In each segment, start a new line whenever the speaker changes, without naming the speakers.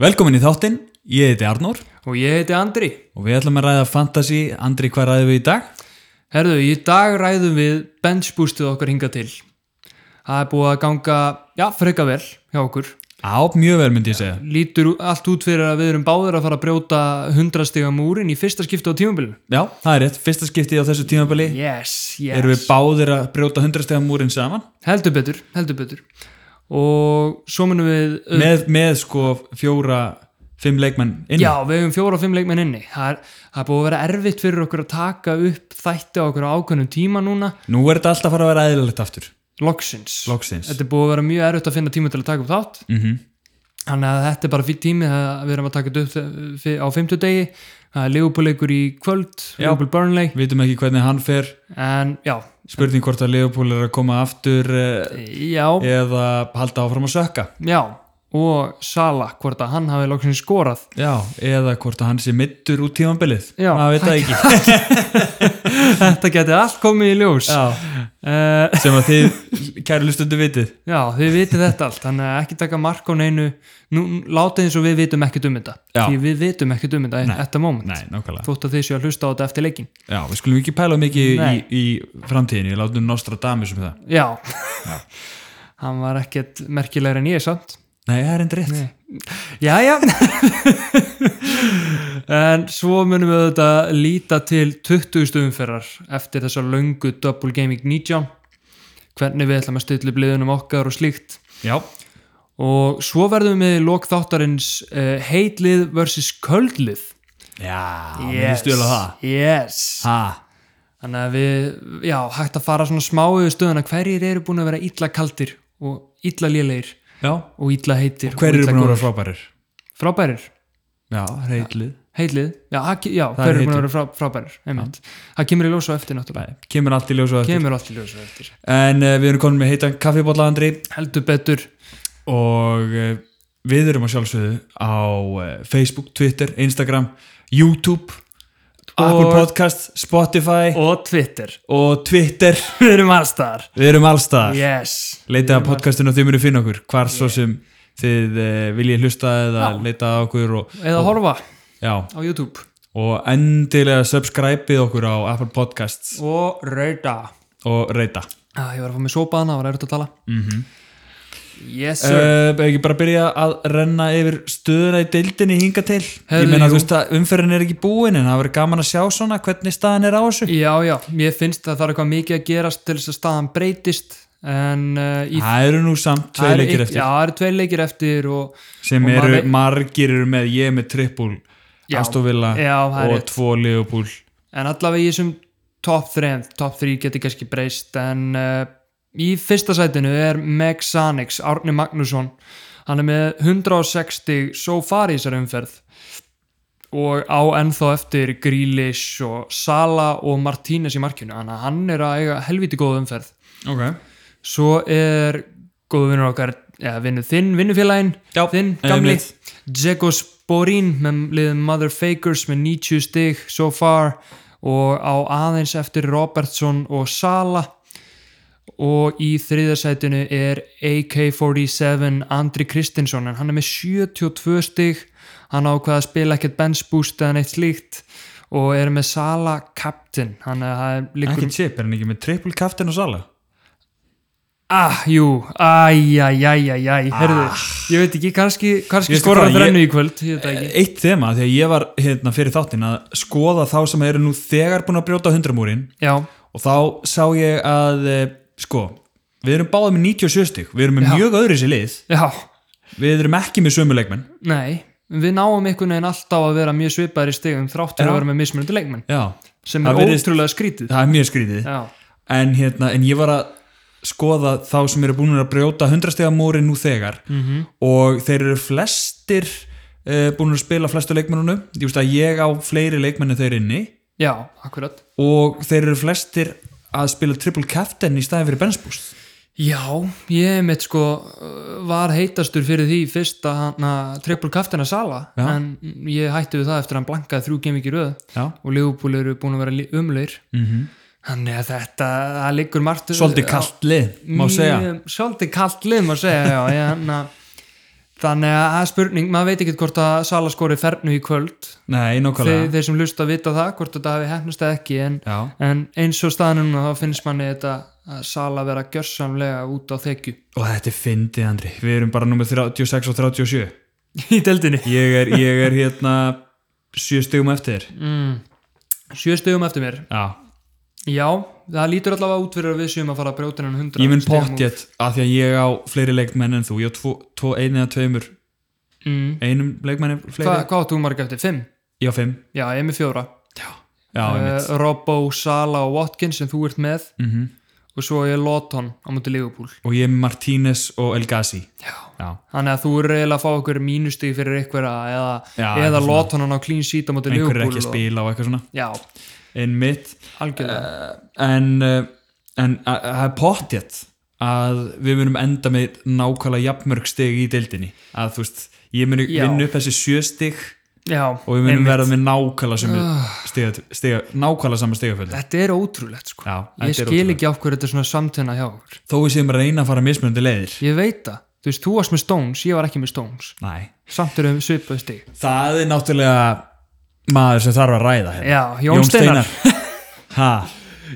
Velkomin í þáttinn, ég heiti Arnór
Og ég heiti Andri.
og við ætlum að ræða fantasy. Andri, hvað ræðum við í dag?
Herðu, í dag ræðum við benchboostið okkar hinga til. Það er búið að ganga, já, freka vel hjá okkur.
Á, mjög vel myndi ég segja.
Lítur allt út fyrir að við erum báðir að fara að brjóta 100 stiga múrin í fyrsta skipti á tímabilinu.
Já, það er rétt. Fyrsta skiptið á þessu tímabili
Yes, yes.
erum við báðir að brjóta 100 stegar múrin saman
Heldur betur, heldur betur. Og svo munum við...
með, með sko fjóra, fimm leikmenn inn.
Já, við hefum fjóra og fimm leikmenn inni. Það er, það er búið að vera erfitt fyrir okkur að taka upp þætti á okkur á ákveðnum tíma núna.
Nú er þetta alltaf að fara að vera eðlilegt aftur.
Loksins.
Loksins.
Þetta er búið að vera mjög erfitt að finna tíma til að taka upp þátt.
Mm -hmm.
Þannig að þetta er bara fyrir tími að við erum að taka þetta upp þe- fi- á fimmtudegi. Það er Leopold-leikur í kvöld,
Já.
Leopold-Burnley.
Vitum ekki hvernig hann fer.
En já,
Spurning hvort að Leopold er að koma aftur eh,
já,
eða halda áfram að sökka.
já. Og Sala, hvort að hann hafi loksins skorað.
Já, eða hvort að hann sé mittur út tímabilið.
Já,
Maður veit það ekki.
Þetta geti allt komið í ljós.
Já,
Eh,
sem að þið kæri lustundu vitið.
já þið vitið þetta allt. Þannig að ekki taka mark á neinu. Nú, láta eins og við vitum ekkert um þetta.
Já.
Því við vitum ekkert um þetta
Nei.
þetta moment.
Nei, nákvæmlega.
Þótt að þið séu að hlusta á þetta eftir leikin.
Já, við skulum ekki pæla mikið í,
Nei.
í framtíðinu, við látum Nostradamus um það.
Já. hann var ekkert merkilegri en ég samt.
Nei, það er endur rétt.
Jæja En svo munum við auðvitað líta til 20 umferðar eftir þessa löngu Double Gaming 19 hvernig við ætlum að stilla upp liðunum okkar og slíkt
Já,
og svo verðum við með lok þáttarins uh, heitlið versus köldlið
já, við stjóla það.
Yes
Ha,
Þannig að við, já, hægt að fara svona smá yfir stöðuna hverjir eru búin að vera illa kaldir og illa lélegir
já.
og illa heitir
Hver eru
og illa
búin að
góðir.
vera frábærir?
Frábærir
Já, reyðlið.
heitlið, já, ak- já
er
hver er búin
heitlið.
að vera frá, frábærir einmitt. það kemur í ljós á eftir náttúrulega
Kemur allt í ljósu eftir.
kemur allt í ljós á eftir,
En uh, við erum komin með heitan kaffibólla Andri
heldur betur
og uh, við erum að sjálfsögðu á uh, Facebook, Twitter, Instagram, YouTube, Apple
Og-
Podcast, Spotify og,
og Twitter,
Twitter.
við erum allstar
Við erum allstaðar.
yes,
leita að podcastinu og þið munir finna okkur hvar svo sem þið uh, viljið hlusta eða leita að okkur og,
eða horfa á
já,
YouTube
og endilega subscribeið okkur á Apple Podcasts
og rauda
og reyta
ah, ég var að fá mig sópaðana, var erut að tala -hmm. yes sir
Uh, ekki bara byrja að renna yfir stöðuna í deildinni hinga til
Herðu,
ég meina
jú.
þú veist að umferðin er ekki búin en það verður gaman að sjá svona hvernig staðan er á þessu
já, já, ég finnst að það er eitthvað mikið að gerast til þess að staðan breytist en uh, í
það eru nú samt tvei
það eru-
leikir eftir
já, það eru tvei leikir eftir og
sem
og maður
eru
veit-
margir eru með ég er með trippul,
Já.
Astovilla
Já, það er
og
rétt.
tvo Leopold
en allavega í þessum top 3 top 3 getur kannski breyst en uh, í fyrsta sætinu er Meg Sanix, Árni Magnússon hann er með 160 so far í þessari umferð og á ennþá eftir Grealish og Sala og Martínez í markjunu, þannig að hann er að eiga helviti góð umferð
okay.
svo er góðu vinnur okkar ja, vinnu þinn, vinnufélaginn
Já,
þinn, gamli Djekos Borín með liðum Mother Fakers með 90 stig so far og á aðeins eftir Robertson og Sala og í þriðasætinu er AK-47 Andri Kristinsson en hann er með 72 stig hann ákvað að spila ekkert bench boost eða neitt slíkt og er með Sala captain hann er, það er líkur
ekki chip, er hann ekki með trippul kaftin og sala
Ah, jú, æjæjæjæjæj, herðu, ég veit ekki, kannski,
Ah.
kannski
Veistu
skorar
hvað,
það rennu
ég- Eh.
í kvöld, ég veit það ekki.
eitt þema, því að ég var hérna fyrir þáttinn að skoða þá sem eru nú þegar búin að brjóta 100 múrin
Já,
og þá sá ég að eh, sko, við erum báðið með 97 stík við erum með
Já.
mjög öðru sér lið
já,
við erum ekki með sömu leikmenn
nei, við náum einhvern veginn alltaf að vera mjög svipaðir í stegum þrátt fyrir
Já.
að vera með mismunandi leikmenn,
já,
sem
Það
er
virðist-
ótrúlega skrítið.
það er mjög skrítið
Já,
en, hérna, en ég var að skoða þá sem eru búin að brjóta 100 stíga múrin nú þegar
Mhm.
-hmm. og þeir eru flestir uh, búin að spila flestu leikmennunum ég, veist að ég á fleiri leikmennu þeir inni
já, akkurat.
og þeir eru flestir að spila triple captain í staði fyrir benchboost
Já, ég mitt sko uh, var heitastur fyrir því fyrst að hann að triple kaftina Sala,
Já.
en ég hætti við það eftir að hann blankaði þrjú gemik í röðu
Já.
og Liverpool eru búin að vera umleir. Mm -hmm. Þannig að þetta, það liggur margt
svolítið kallt lið, má segja
Mjög- svolítið kalt lið má segja já, ég, na, hérna. þannig að það er spurning, maður veit ekki hvort að Sala skori fernu í kvöld
Nei,
þeir,
nákvæmlega
þeir sem lusta vita það, hvort þetta hafi hefnast eða ekki en,
Já,
en eins og staðanum þá finnst manni þetta að Sala vera gjörsamlega út á þekju
og þetta er fyndið Andri Við erum bara nummer 36 og 37
í deldinni
Ég er, ég er hérna sjö stegum eftir þér.
mm. sjö stegum eftir mér
Já,
já, það lítur allavega út fyrir að við séum að fara að brjóta hennan 100
ég mun
stigum úr.
pottjett að því að ég á fleiri leikmenn en þú Ég á tvo, tvo einu eða tveimur
mm.
Einum leikmenn er fleiri
Hva, hvað áttu marg eftir? 5?
Ég á fimm
já, ég er með fjóra
Já, einmitt
uh, Robbo, Sala og Watkins sem þú ert með
mm
og svo er Lotton á múti Liverpool
Og ég er með Martínez og El Gassi
já
Já,
Þannig að þú eru eiginlega að fá okkur mínustig fyrir einhverja eða,
Já,
eða
eitthvað
lot hann á clean sheet á móti
einhver er
Liverpool
ekki að spila og eitthvað svona
Já,
Einmitt Eh,
algjörlega
en uh, en að- að það er pottjett að við munum enda með nákvæmlega jafnmörg stig í deildinni að þú veist, ég mun
Já.
vinna upp þessi sjö stig
Já,
og við munum
einmitt. Ah.
verða með nákvæmlega sem stiga, stiga, nákvæmlega sama stigaföldu
Þetta er ótrúlegt sko
Já,
Ég
þetta er
skil
ótrúlegt.
ekki á hverju þetta er svona samtuna hjá okkur
þó við séum að reyna að fara mismunandi leiðir
Ég veit það, þú veist, þú varst með Stones, ég var ekki með Stones
Nei.
Samt erum við svipað stig
það er náttúrulega maður sem þarf að ræða hérna.
Já, Jón Steinar.
ha,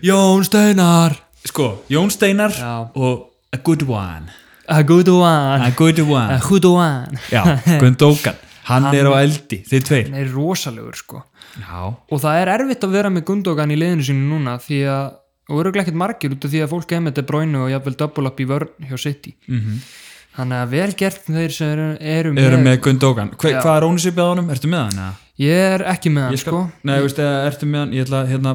Jón Steinar
sko, Jón Steinar
Já.
og a good one
A good one
a good
A
one
good one
Já, Gundókan, hann, er á eldi þið tveir
Nei, rosalegur sko
Já,
Og það er erfitt að vera með Gundogan í liðinu sínu núna því að, og eru ekkert margir út af því að fólk er með þetta bróinu og jafnvel double up í vörn hjá City.
Mhm.
Þannig að vel gert þeir sem eru, eru með,
eru með Gundókan Hva,
Já.
hvað er ónisipið á honum, ertu með hann? eða?
ég er ekki með hann
Ég
sko.
nei, veist, eða ertu með hann, ég ætla að hérna,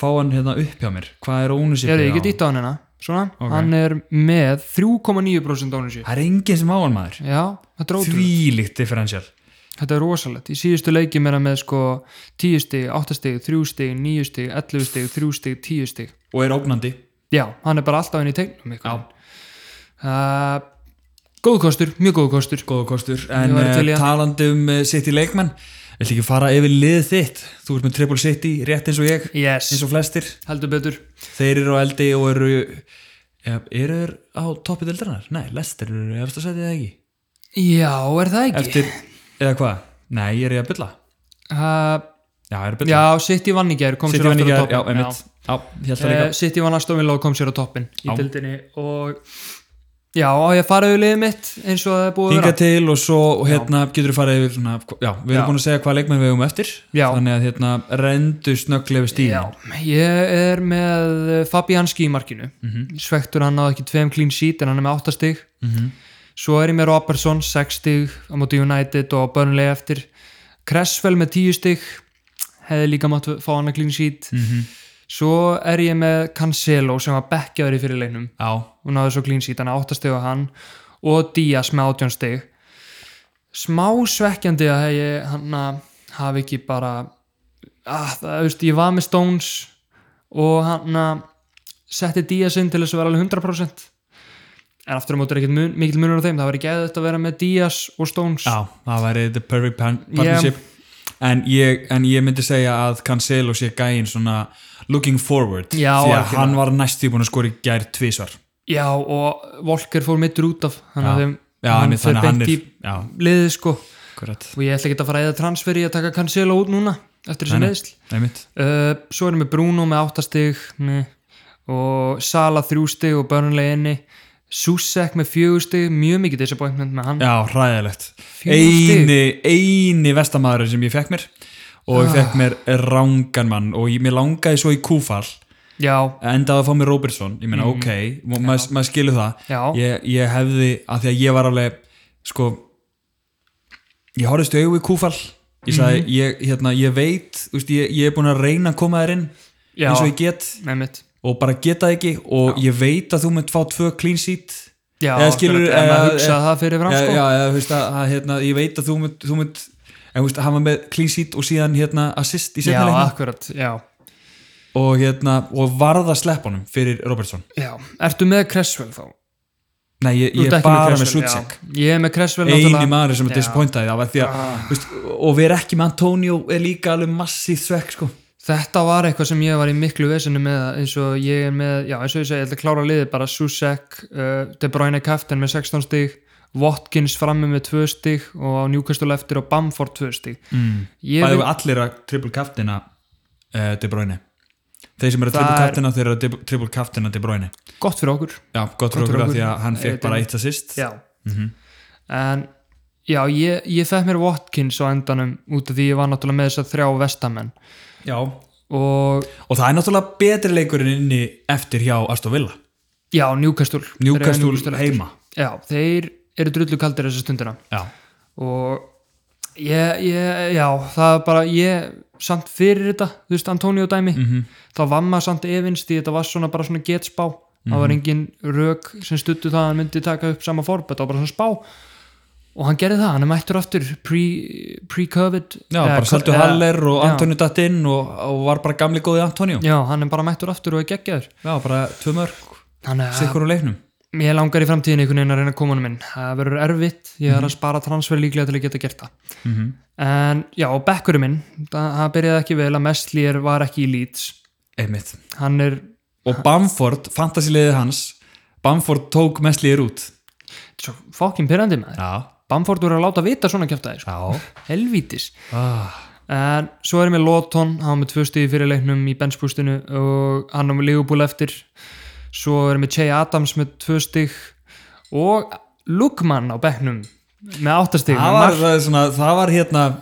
fá hann hérna upp hjá mér hvað er ónisipið á
Ég er ekki
honum?
dýtt á hann hérna, svona,
Ok.
hann er með 3,9% ánum sér.
það er enginn sem á hann maður
Já, þetta er ótrúlega.
þvílíkt differential
Þetta er rosalegt. Í síðustu leikjum er hann með sko 10 stig, 8 stig, 3 stig, 9 stig, 11 stig, 3 stig, 10 stig.
og er ógnandi
Já, hann er bara alltaf inn í tegnum ykkur. Uh, góð kostur, mjög góð kostur.
góða kostur, en
væri til
eh,
í hann.
talandi um eh, City leikmenn, viltu ekki fara yfir liðið þitt, þú ert með Triple City rétt eins og ég,
Yes,
eins og flestir
heldur betur
þeir eru á eldi og eru ja, eru þeir á toppi dildarinnar? Nei, lestir eru eftir að setja það ekki
Já, er það ekki?
eftir, eða hvað? Nei, ég er ég að bylla
Uh,
Já, ég er að bylla
já, City vann í gær kom
City
sér
vann í gær,
aftur á
já,
toppin
einmitt Já, ég held það líka
Eh, City vann aftur og kom sér á toppin í
Já.
dildinni og já, og ég faraði við liðið mitt eins og það er búið að
Hinga
vera
til og svo og hérna getur þú farið yfir svona, já, við
Já.
erum búin að segja hvað leikmenn við höfum eftir
Já.
þannig að hérna rendu snögglega við
Já,
stíðin
ég er með eh, Fabianski í markinu svektur hann á ekki tveim clean sheet en hann er með 8 stig
Mhm.
svo er ég með Robertson 6 stig á móti United og Burnley eftir Cresswell með 10 stig hefði líka mátt fá hann að clean sheet
Mhm.
svo er ég með Cancelo sem var bekkjaður í fyrir leiknum
Já,
og náði svo clean sheet, hann áttastegu á hann og Díaz með átjónsteg smá svekkjandi að ég hann að hafi ekki bara að, það, þú veist, ég var með Stones og hann að setti Díaz inn til þess að vera alveg 100% en aftur á móti er ekkit mun, mikil munur á þeim, það væri geðið að vera með Díaz og Stones
já, það væri the perfect pan- partnership en, ég, en ég myndi segja að Cancelo sé gæinn svona looking forward
Já,
því að
algjörlega.
hann var næstu búin að skora í gær tvisvar
Já, og Volker fór mittur út af þannig
Já.
að þeim,
Já, hann,
fer
þannig að hann
beint
er
í
Já,
liðið sko og
akkurat
ég ætla ekki að fara eða transferi að taka Cancelo út núna eftir þessi
Nei, nei.
neðsl
Einmitt.
Uh, svo erum við Bruno með 8 stig nei, og Sala 3 stig og Burnley inni Susek með 4 stig, mjög mikið disappointment með hann
Já, hræðilegt
Fjögur stig.
eini, eini vestamæður sem ég fekk mér og
Ah.
ég fekk mér rangan mann og ég, mér langaði svo í kúfall
Já,
endaði að fá mér Robertson ég meina ok, ma- maður ma skilur það
Mm. Já.
ég, ég hefði, að því að ég var alveg sko ég horfðist auðvitað í kúfall ég
Mhm.
sagði, ég, hérna, ég veit úst, ég, ég er búin að reyna að koma þér inn
já,
eins og ég get
nefnitt
og bara geta það ekki og ég veit að þú mynd fá tvö clean sheet
Já,
Eða skilur-
akkurat, en
eða-
maður hugsaði það fyrir fram
já,
sko
já, já, þú veist að, að hérna, ég veit að þú mynd, þú mynd en þú veist að hafa með clean sheet og síðan hérna assist í
já
setna leikna
akkurat, já
og hérna, og varða sleppunum fyrir Robertson.
Já, ertu með Cresswell þá?
Nei, ég,
Þú
ég
ert
er
ekki
bara með
Cresswell,
Sucek
já. Ég er með Cresswell
eini
náttúrulega.
maður sem er
Já. Ah.
disappointaði af því að, þú veist, og við erum ekki með Antonio er líka alveg massíð svekk sko.
Þetta var eitthvað sem ég var í miklu vesinu með eins og eh, ég er með, já eins og ég segi, ég ætla að klára liðið bara Susek, uh, De Bruyne Kaftin með 16 stíg Watkins frammi með tvö stig og á Newcastle eftir og Bamford tvö stig
mm.
ég
Bæðið
vil,
við allir að triple captaina uh, De Bruyne Þeir sem eru
Það
triple
er-
captaina þeir eru að dib- triple captaina De Bruyne
gott fyrir okkur
Já, gott
fyrir
fyrir okkur
okkur.
að því að hann
Eh,
fekk
Demi.
bara eitt assist
já Mhm. en já, ég, ég fekk mér Watkins á endanum út af því ég var náttúrulega með þess að þrjá vestamenn
Já Og
og
það er náttúrulega betri leikurinn inni eftir hjá Aston Villa
já, Newcastle Þeir eiga
Newcastle heima
já, þeir eru drullu kaldir þessa stundina
Já,
og ég, ég, já, það er bara ég, samt fyrir þetta þú veist, Antonio dæmi,
Mhm.
þá var maður samt efins því þetta var svona bara svona getspá það
Mhm.
var engin rök sem stuttu það að hann myndi taka upp sama forbet, það var bara svona spá og hann gerði það, hann er mættur aftur pre- pre-covid
já
eða-
bara Saltu
eða-
Haller og
já.
Antonio datt inn og, og var bara gamli góði Antonio
já, hann er bara mættur aftur og er geggjaður
Já, bara tvö mörg,
þannig að
sikkur úr leiknum
Mér langar í framtíðin einhvern veginn að reyna að koma hann minn. Það verður erfitt, ég er að spara transfer líklega til að geta gert það.
Mhm.
En já, bekkurinn minn, það það byrjaði ekki vel að Messlier var ekki í Leeds.
Einmitt
Hann er,
Og Bamford, fantasilegið hans Bamford tók mestliðir út
þetta er svo fokkin pyrrandi með þér.
Já,
Bamford voru að láta vita svona kjæftæði, sko.
já
Helvítis.
ah.
En svo erum við Lóton, hann var með tvö stíði fyrir leiknum í benspústinu og hann var með Ligubúl eftir. Svo erum við Che Adams með tvö stíð og Lukman á bekknum með áttastíð.
það var, það, er svona, það var hérna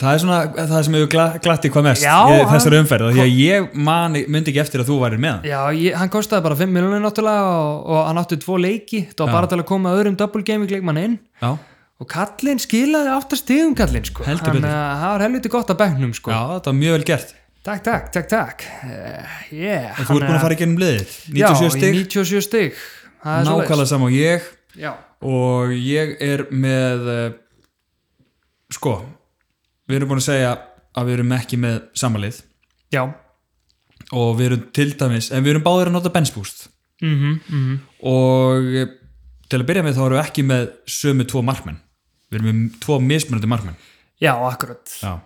það er svona það sem hefur gla, glatt í hvað mest
Já,
í
hann-
þessari umferð, af því að ég man, myndi ekki eftir að þú værir með hann
Já, ég, hann kostaði bara 5 miljonir náttúrulega og, og hann átti tvo leiki það var bara til að koma öðrum double gaming leikmann inn
já,
og kallinn skilaði áttast stigum kallinn sko
Heldur
hann,
betur.
uh, það var helviti gott að bæknum sko
já, þetta var mjög vel gert
Takk, takk, takk, takk uh, yeah,
og þú ert búin að fara í gennum liðið 97
Já,
stig,
í 97 stig Það er svoleiðis.
nákvæmlega saman og ég
Já,
og ég er með eh, sko við erum búin að segja að við erum ekki með samanlið
já
og við erum til dæmis, en við erum báðir að nota benchboost
mm -hmm,
Mhm.
mm
og eh, til að byrja með þá erum við ekki með sömu tvo markmenn við erum með tvo mismunandi markmenn
Já, akkurat
Já.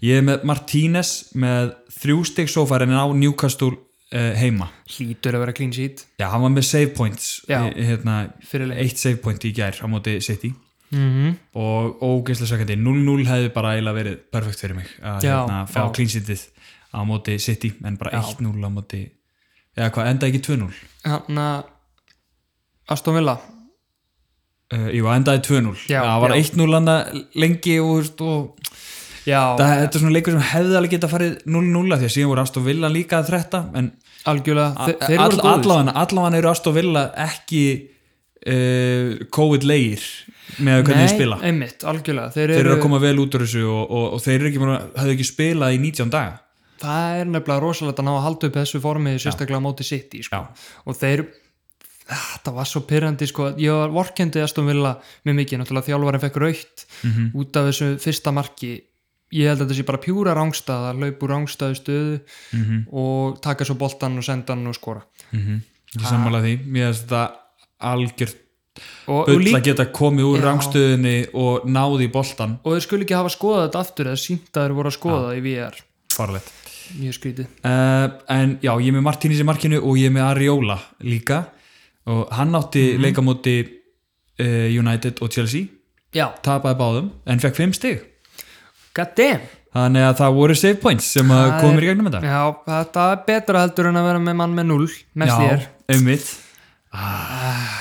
Ég er með Martínez með þrjú stygg sófar en á Newcastle uh, heima.
Hlýtur að vera clean sheet
Já, hann var með save points,
Já.
í- hérna,
fyrir leik
eitt save point í gær á móti City
mm
og ógeðslega sakandi 0-0 hefði bara eiginlega verið perfekt fyrir mig að
Já,
hérna, fá
já.
clean sheetið á móti City en bara
Já.
1-0 á móti, eða hvað, enda ekki 2-0?
Hann að Aston Villa
Uh, jú, endaði 2-0.
Já,
Það var
já.
1-0 landa lengi og, þú veist, og
Já,
það, þetta er svona leikur sem hefði alveg geta farið 0-0 af því að síðan voru Aston Villa líka að þretta en
algjörlega Þe- Þeir voru
All-
góðir
allavega allavega eru Aston Villa ekki uh, COVID-leir með að hvernig þeir spila
Nei, einmitt, algjörlega Þeir,
þeir
eru,
eru að koma vel út úr þessu og, og, og þeir eru ekki, búin að- höfðu ekki spilað í 19 daga
Það er nefnilega rosalegt að ná að halda upp þessu formi sérstaklega á móti sitt í sko.
Já.
og þeir þetta var svo pyrrandi sko. ég var vorkendi Aston Villa mjög mikið náttúrulega þjálfarinn fekk raukt
Mhm.
út af þessu fyrsta marki ég held að þetta sé bara pjúra rángstað að laupa úr rángstaðu stöðu
Mhm.
og taka svo boltan og senda hann og skora
ég sammála því, mér finnst þetta algjört
og, og,
bull
lík,
að geta komið úr
Já.
rangstöðinni og náði í boltan
og þeir skulle ekki hafa skoðað þetta aftur eða sínt að þeir voru að skoða það í VR
farlegt
mjög skrítið
uh, en já, ég er með Martínis í markinu og ég er með Ariola líka og hann átti mm
Mhm.
-hmm. leikamóti uh, United og Chelsea
já,
tapaði báðum en fekk 5 stig
god damn
Þannig að það voru save points sem að
Það
komir
er-
í gegnum þetta.
Já, þetta er betra heldur en að vera með mann með null mest þér,
einmitt. Já,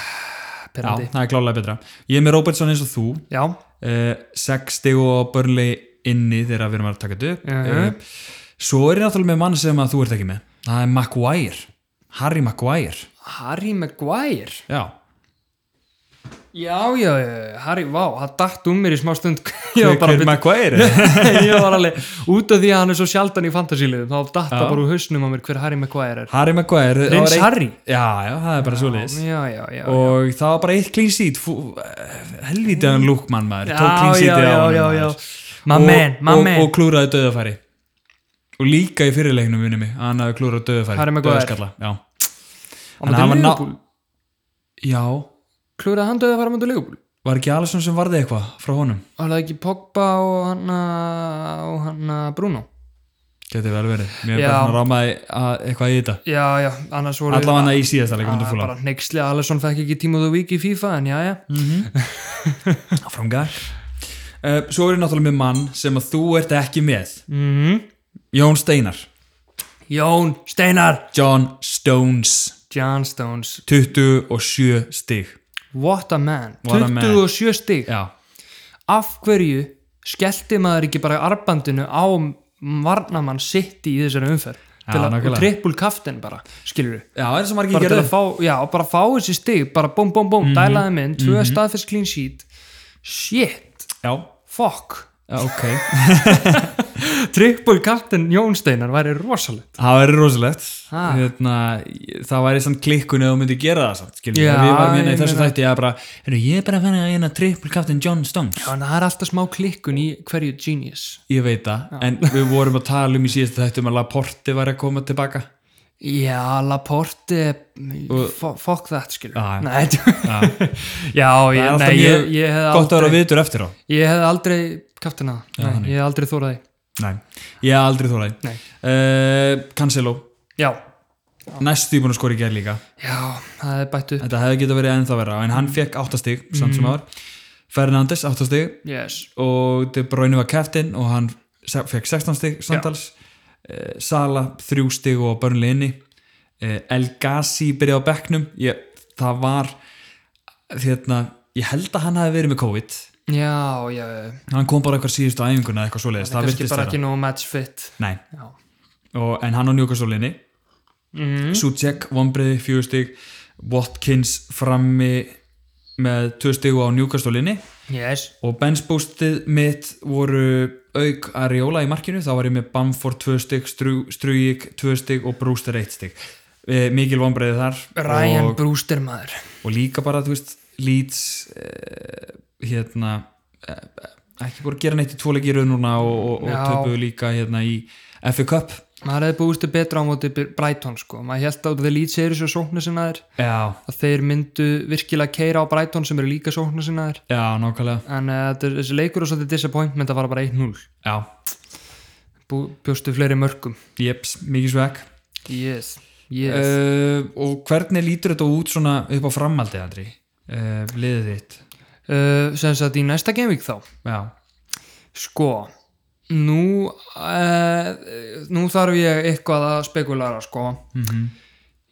perandi
það er klálega betra. Ég er með Robertson eins og þú.
Já,
Uh, sex stigu á börli inni þegar við erum að taka þetta upp.
Mhm.
Eh, svo er ég náttúrulega með mann sem að þú ert ekki með. Það er Maguire. Harry Maguire.
Harry Maguire
Já.
Já, já, já, Harry, vá, það datt um mér í smá stund Ég
Hver,
var bara
hver Maguire?
byrja, ég var alveg út af því að hann er svo sjaldan í fantasíliðum þá datt það bara úr hausnum á mér hver Harry Maguire er
Harry Maguire. það var
Prins
eitt-
Harry
Já, já, það er bara svoleiðis.
Já, já, já
Og það var bara eitt clean sheet. Fú- eh, Helvítið hann lúkmann maður.
Já,
Tók clean
já,
sheetið á
já,
honum,
já,
maður.
já My
og,
man, my
og,
man
og klúraði döðafæri og líka í fyrirleiknum minni mig að hann hafi klúraði
Harry
döðafæri
Maguire.
já.
Á
en
móti
hann var ná-
Liverpool.
já,
Klúraði hann döðið að fara á mútið leikubúl
var ekki Alisson sem varði eitthvað frá honum
Var það ekki Pogba og hann að- og hann að Bruno
Geti vel verið. Mér er
Já.
bara svona rámaði að- eitthvað í þetta.
já, já, annars voru
Alla hana í síðasta leikum
að,
undir fúlan.
bara neyksli, Alisson fekk ekki tíma þú vik í FIFA en já, já,
Mm. Áframgar. Uh, svo er ég náttúrulega með mann sem að þú ert ekki með.
mm
Jón Steinar.
Jón Steinar
John Stones.
John Stones,
27 stig.
what a man
What a man.
27 stig
Já.
af hverju skellti maður ekki bara arbandinu á varnamann sitt í þessari umferð
Já,
til að,
nákvæmlega.
og trippul kaftin bara skilur við
Já, eins og margir
bara til
gerðu.
að fá, já, bara fá þessi stig bara búm, búm,
Mhm.
búm, dælaði minn tvö staðfest clean sheet shit,
Já,
fuck
já, ok.
trippul kaftin Jón Steinar væri rosalegt
það væri rosalegt.
Ha.
Hérna, það væri samt klikkun eða þú myndir gera það samt. Skiljum,
Já,
við varum hérna í
ég
þessu
meina-
þætti að bara, heyrðu, ég er bara að finna hérna triple captain John Stones.
þannig að það er alltaf smá klikkun í hverju genius
Ég veit það, en við vorum að tala um í síðasta þættum að Laporte var að koma tilbaka.
já, Laporte fo- fuck that skilur
Já, já.
við Nei,
Já, það er
já, ég,
alltaf
nei,
mjög
ég, ég hef
gott að vera vitur eftir á.
Ég hef aldrei kaftin að það, Nei, ég hef aldrei þóraði
Nei, ég hef aldrei þólaði.
Nei.
Uh, Cancelo,
Já,
næstu búin að skora í gerð líka.
já, það er bætt upp
Þetta hefði geta verið ennþá verra, en hann fekk áttastig, samt sem áður. Fernandes, áttastig,
Yes,
og De Bruyne var keftin og hann se- fekk 16 stig samtals uh, Sala 3 stig og Burnley inni uh, El Gassi byrjaði á bekknum ég, það var hérna, ég held að hann hafi verið með COVID
já, já já.
hann kom bara eitthvað síðustu æfinguna eða eitthvað svoleiðis það
Kannski
virtist
bara
vera
ekki nóg match fit
Nei,
Já,
og, en hann á njókastólinni Mhm.
mm.
Sucek, Vombriði, 4 stig Watkins frammi með 2 stig á njókastólinni
yes
og bensbústið mitt voru auk Ariola í markinu, þá var ég með Bamford 2 stygg, Strujík 2 stygg og Brewster 1 stygg e, mikil vonbreiði þar
Ryan
og,
Brewster maður
og líka bara, þú veist, Leeds e, hérna e, ekki búin að gera neitt í tvoleiki rauð núna og, og, og
Já.
töpuðu líka hérna í FA Cup
Maður hefði búist þér betra á móti Br- Brighton sko Maður held að þeir lýt segir þessu sóknu sinnaðir
já,
að þeir myndu virkilega keira á Brighton sem eru líka sóknu sinnaðir
já, nákvæmlega
en uh, þessi leikur og svo þetta disappointment að fara bara 1-0
já,
Bú- Bjóstu fleiri mörgum
jeps, mikið sveg
Yes, yes
Uh, og hvernig lítur þetta út svona upp á framhaldið, Andri? Uh, liðið þitt?
uh, Sem sagt í næsta gameweek þá
Já,
Sko, nú, uh, nú þarf ég eitthvað að spekulara, sko.
mhm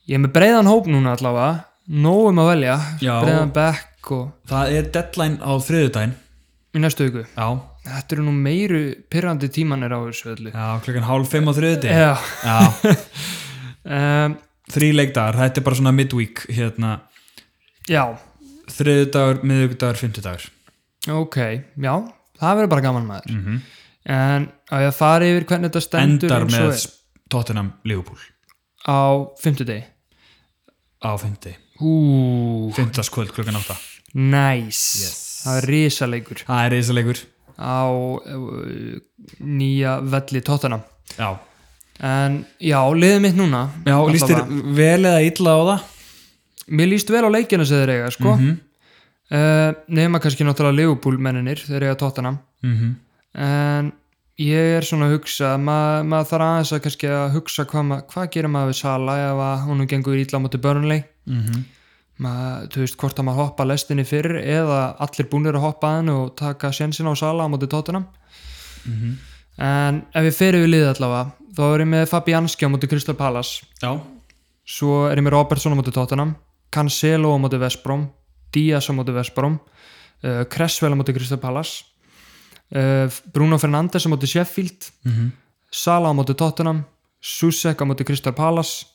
Ég er með breiðan hóp núna allavega, nóg um að velja,
Já.
breiðan bekk og
Það er deadline á þriðudaginn
í næstu viku.
Já,
Þetta eru nú meiru pyrrandi tímanir á þessu öllu.
já klukkan hálf fimm á þriðudaginn
Já,
Já,
um,
þrý leikdagar, þetta er bara svona midweek hérna,
já,
þriðudagur, miðugudagur, fimmtudagur
ok, já, það verður bara gaman maður.
mm -hmm.
En að ég fari yfir hvernig þetta stendur
Endar
eins og
með
er
Tottenham Liverpool
á fimmtudegi.
á fimmti,
Ú,
fimmtaskvöld klukkan átta
næs,
Yes.
það er risalegur
Það er reisalegur
á uh, nýja velli tóttanam.
Já,
En já, liðið mitt núna
já og
allavega.
lístir vel eða illa á það
Mér líst vel á leikina sem þeir eiga, sko mm
Mhm.
Nefna kannski náttúrulega Liverpool menninir, þeir eiga tóttanam
mm
En ég er svona að hugsa ma maður þarf aðeins að kannski að hugsa hvað, ma hvað gerir maður við Sala ef að hún gengur ítla á móti Burnley
mhm.
maður, þú veist, hvort að maður hoppa lestinni fyrr eða allir búnir að hoppa að hennu og taka sjensin á Sala á móti tóttanam En ef ég fer yfir liðið allavega þá er ég með Fabianski á móti Crystal Palace
Já,
Svo er ég með Robertson á móti Tottenham Cancelo á móti Vesbrom Díaz á móti Vesbrom uh, Cresswell á móti Crystal Palace uh, Bruno Fernandes á móti Sheffield
Mhm.
Sala á móti Tottenham Susek á móti Crystal Palace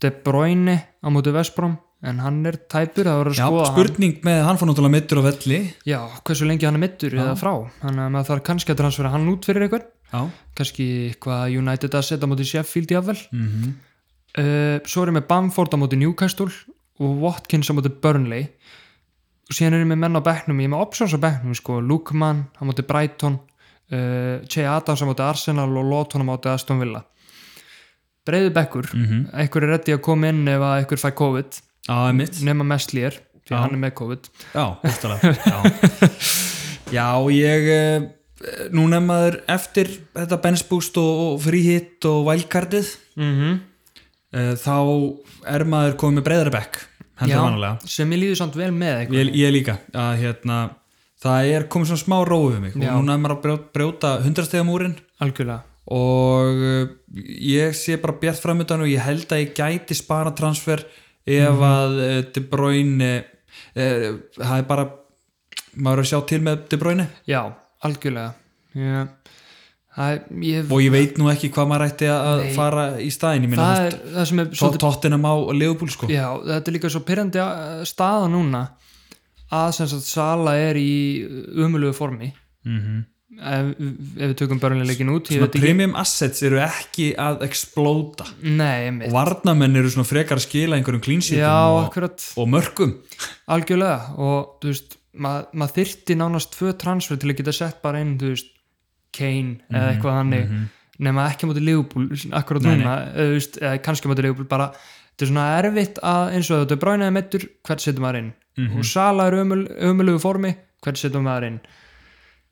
De Bruyne á móti Vesbrom en hann er tæpur, það voru að
já
skoða Sko, hann
spurning með hann fór náttúrulega middur á velli
Já, hversu lengi hann er middur eða frá þannig að maður þarf kannski að transfera hann út fyrir einhvern
Já,
kannski eitthvað United að setja á móti Sheffield jáfnvel
mm
uh, svo er ég með Bamford á móti Newcastle og Watkins á móti Burnley og síðan er ég með menn á bekknum ég er með options á bekknum sko, Lukman á móti Brighton uh, Che Adams á móti Arsenal og Lawton á móti Aston Villa breyðu bekkur mm
Mhm.
einhver er reddi að koma inn ef að einhver fær COVID
já, það er mitt
nema Messlier, því
Já.
hann er með COVID
Já, bóttalega Já, já ég eh, eh, núna er maður eftir þetta benchboost og, og fríhitt og wildcardið
mm
eh, þá er maður komið með breyðara bekk heldur vanalega
sem ég líður samt vel með eitthvað
ég, ég líka að hérna það er komið svona smá róið mig
Já.
og núna er maður að brjó- brjóta hundrastegamúrin
algjörlega
og eh, ég sé bara bjart framöndan og ég held að ég gæti spara transfer ef
Mhm.
að eh, De Bruyne eh, það er bara maður er að sjá til með De Bruyne
já, algjörlega ég, það, ég,
og ég veit nú ekki hvað maður ætti að
Nei.
fara í staðin ég minna
það er það sem er
þess tóttinam á Leopold sko
Já, þetta er líka svo pyrrandi staða núna að sem sagt Sala er í umulugu formi
mm
ef, ef við tökum börnleikin út ég
svona
veit ekki,
premium assets eru ekki að explóta og
nei, einmitt
varnamenn eru svona frekar að skila einhverjum
já,
klínsítum og,
akkurat,
og mörgum
algjörlega og þú veist, maður mað þyrti nánast tvö transfer til að geta sett bara inn þú veist, Kane eða eitthvað hannig nema ekki á móti Leopold akkurat
Mhm, Nei, nei.
núna, eða, þú veist, eða kannski á móti Leopold bara, þetta er svona erfitt að eins og þetta er bráinaði meittur, hvert setur maður inn
Mhm.
og Sala er ömul, ömulugu formi hvert setur maður inn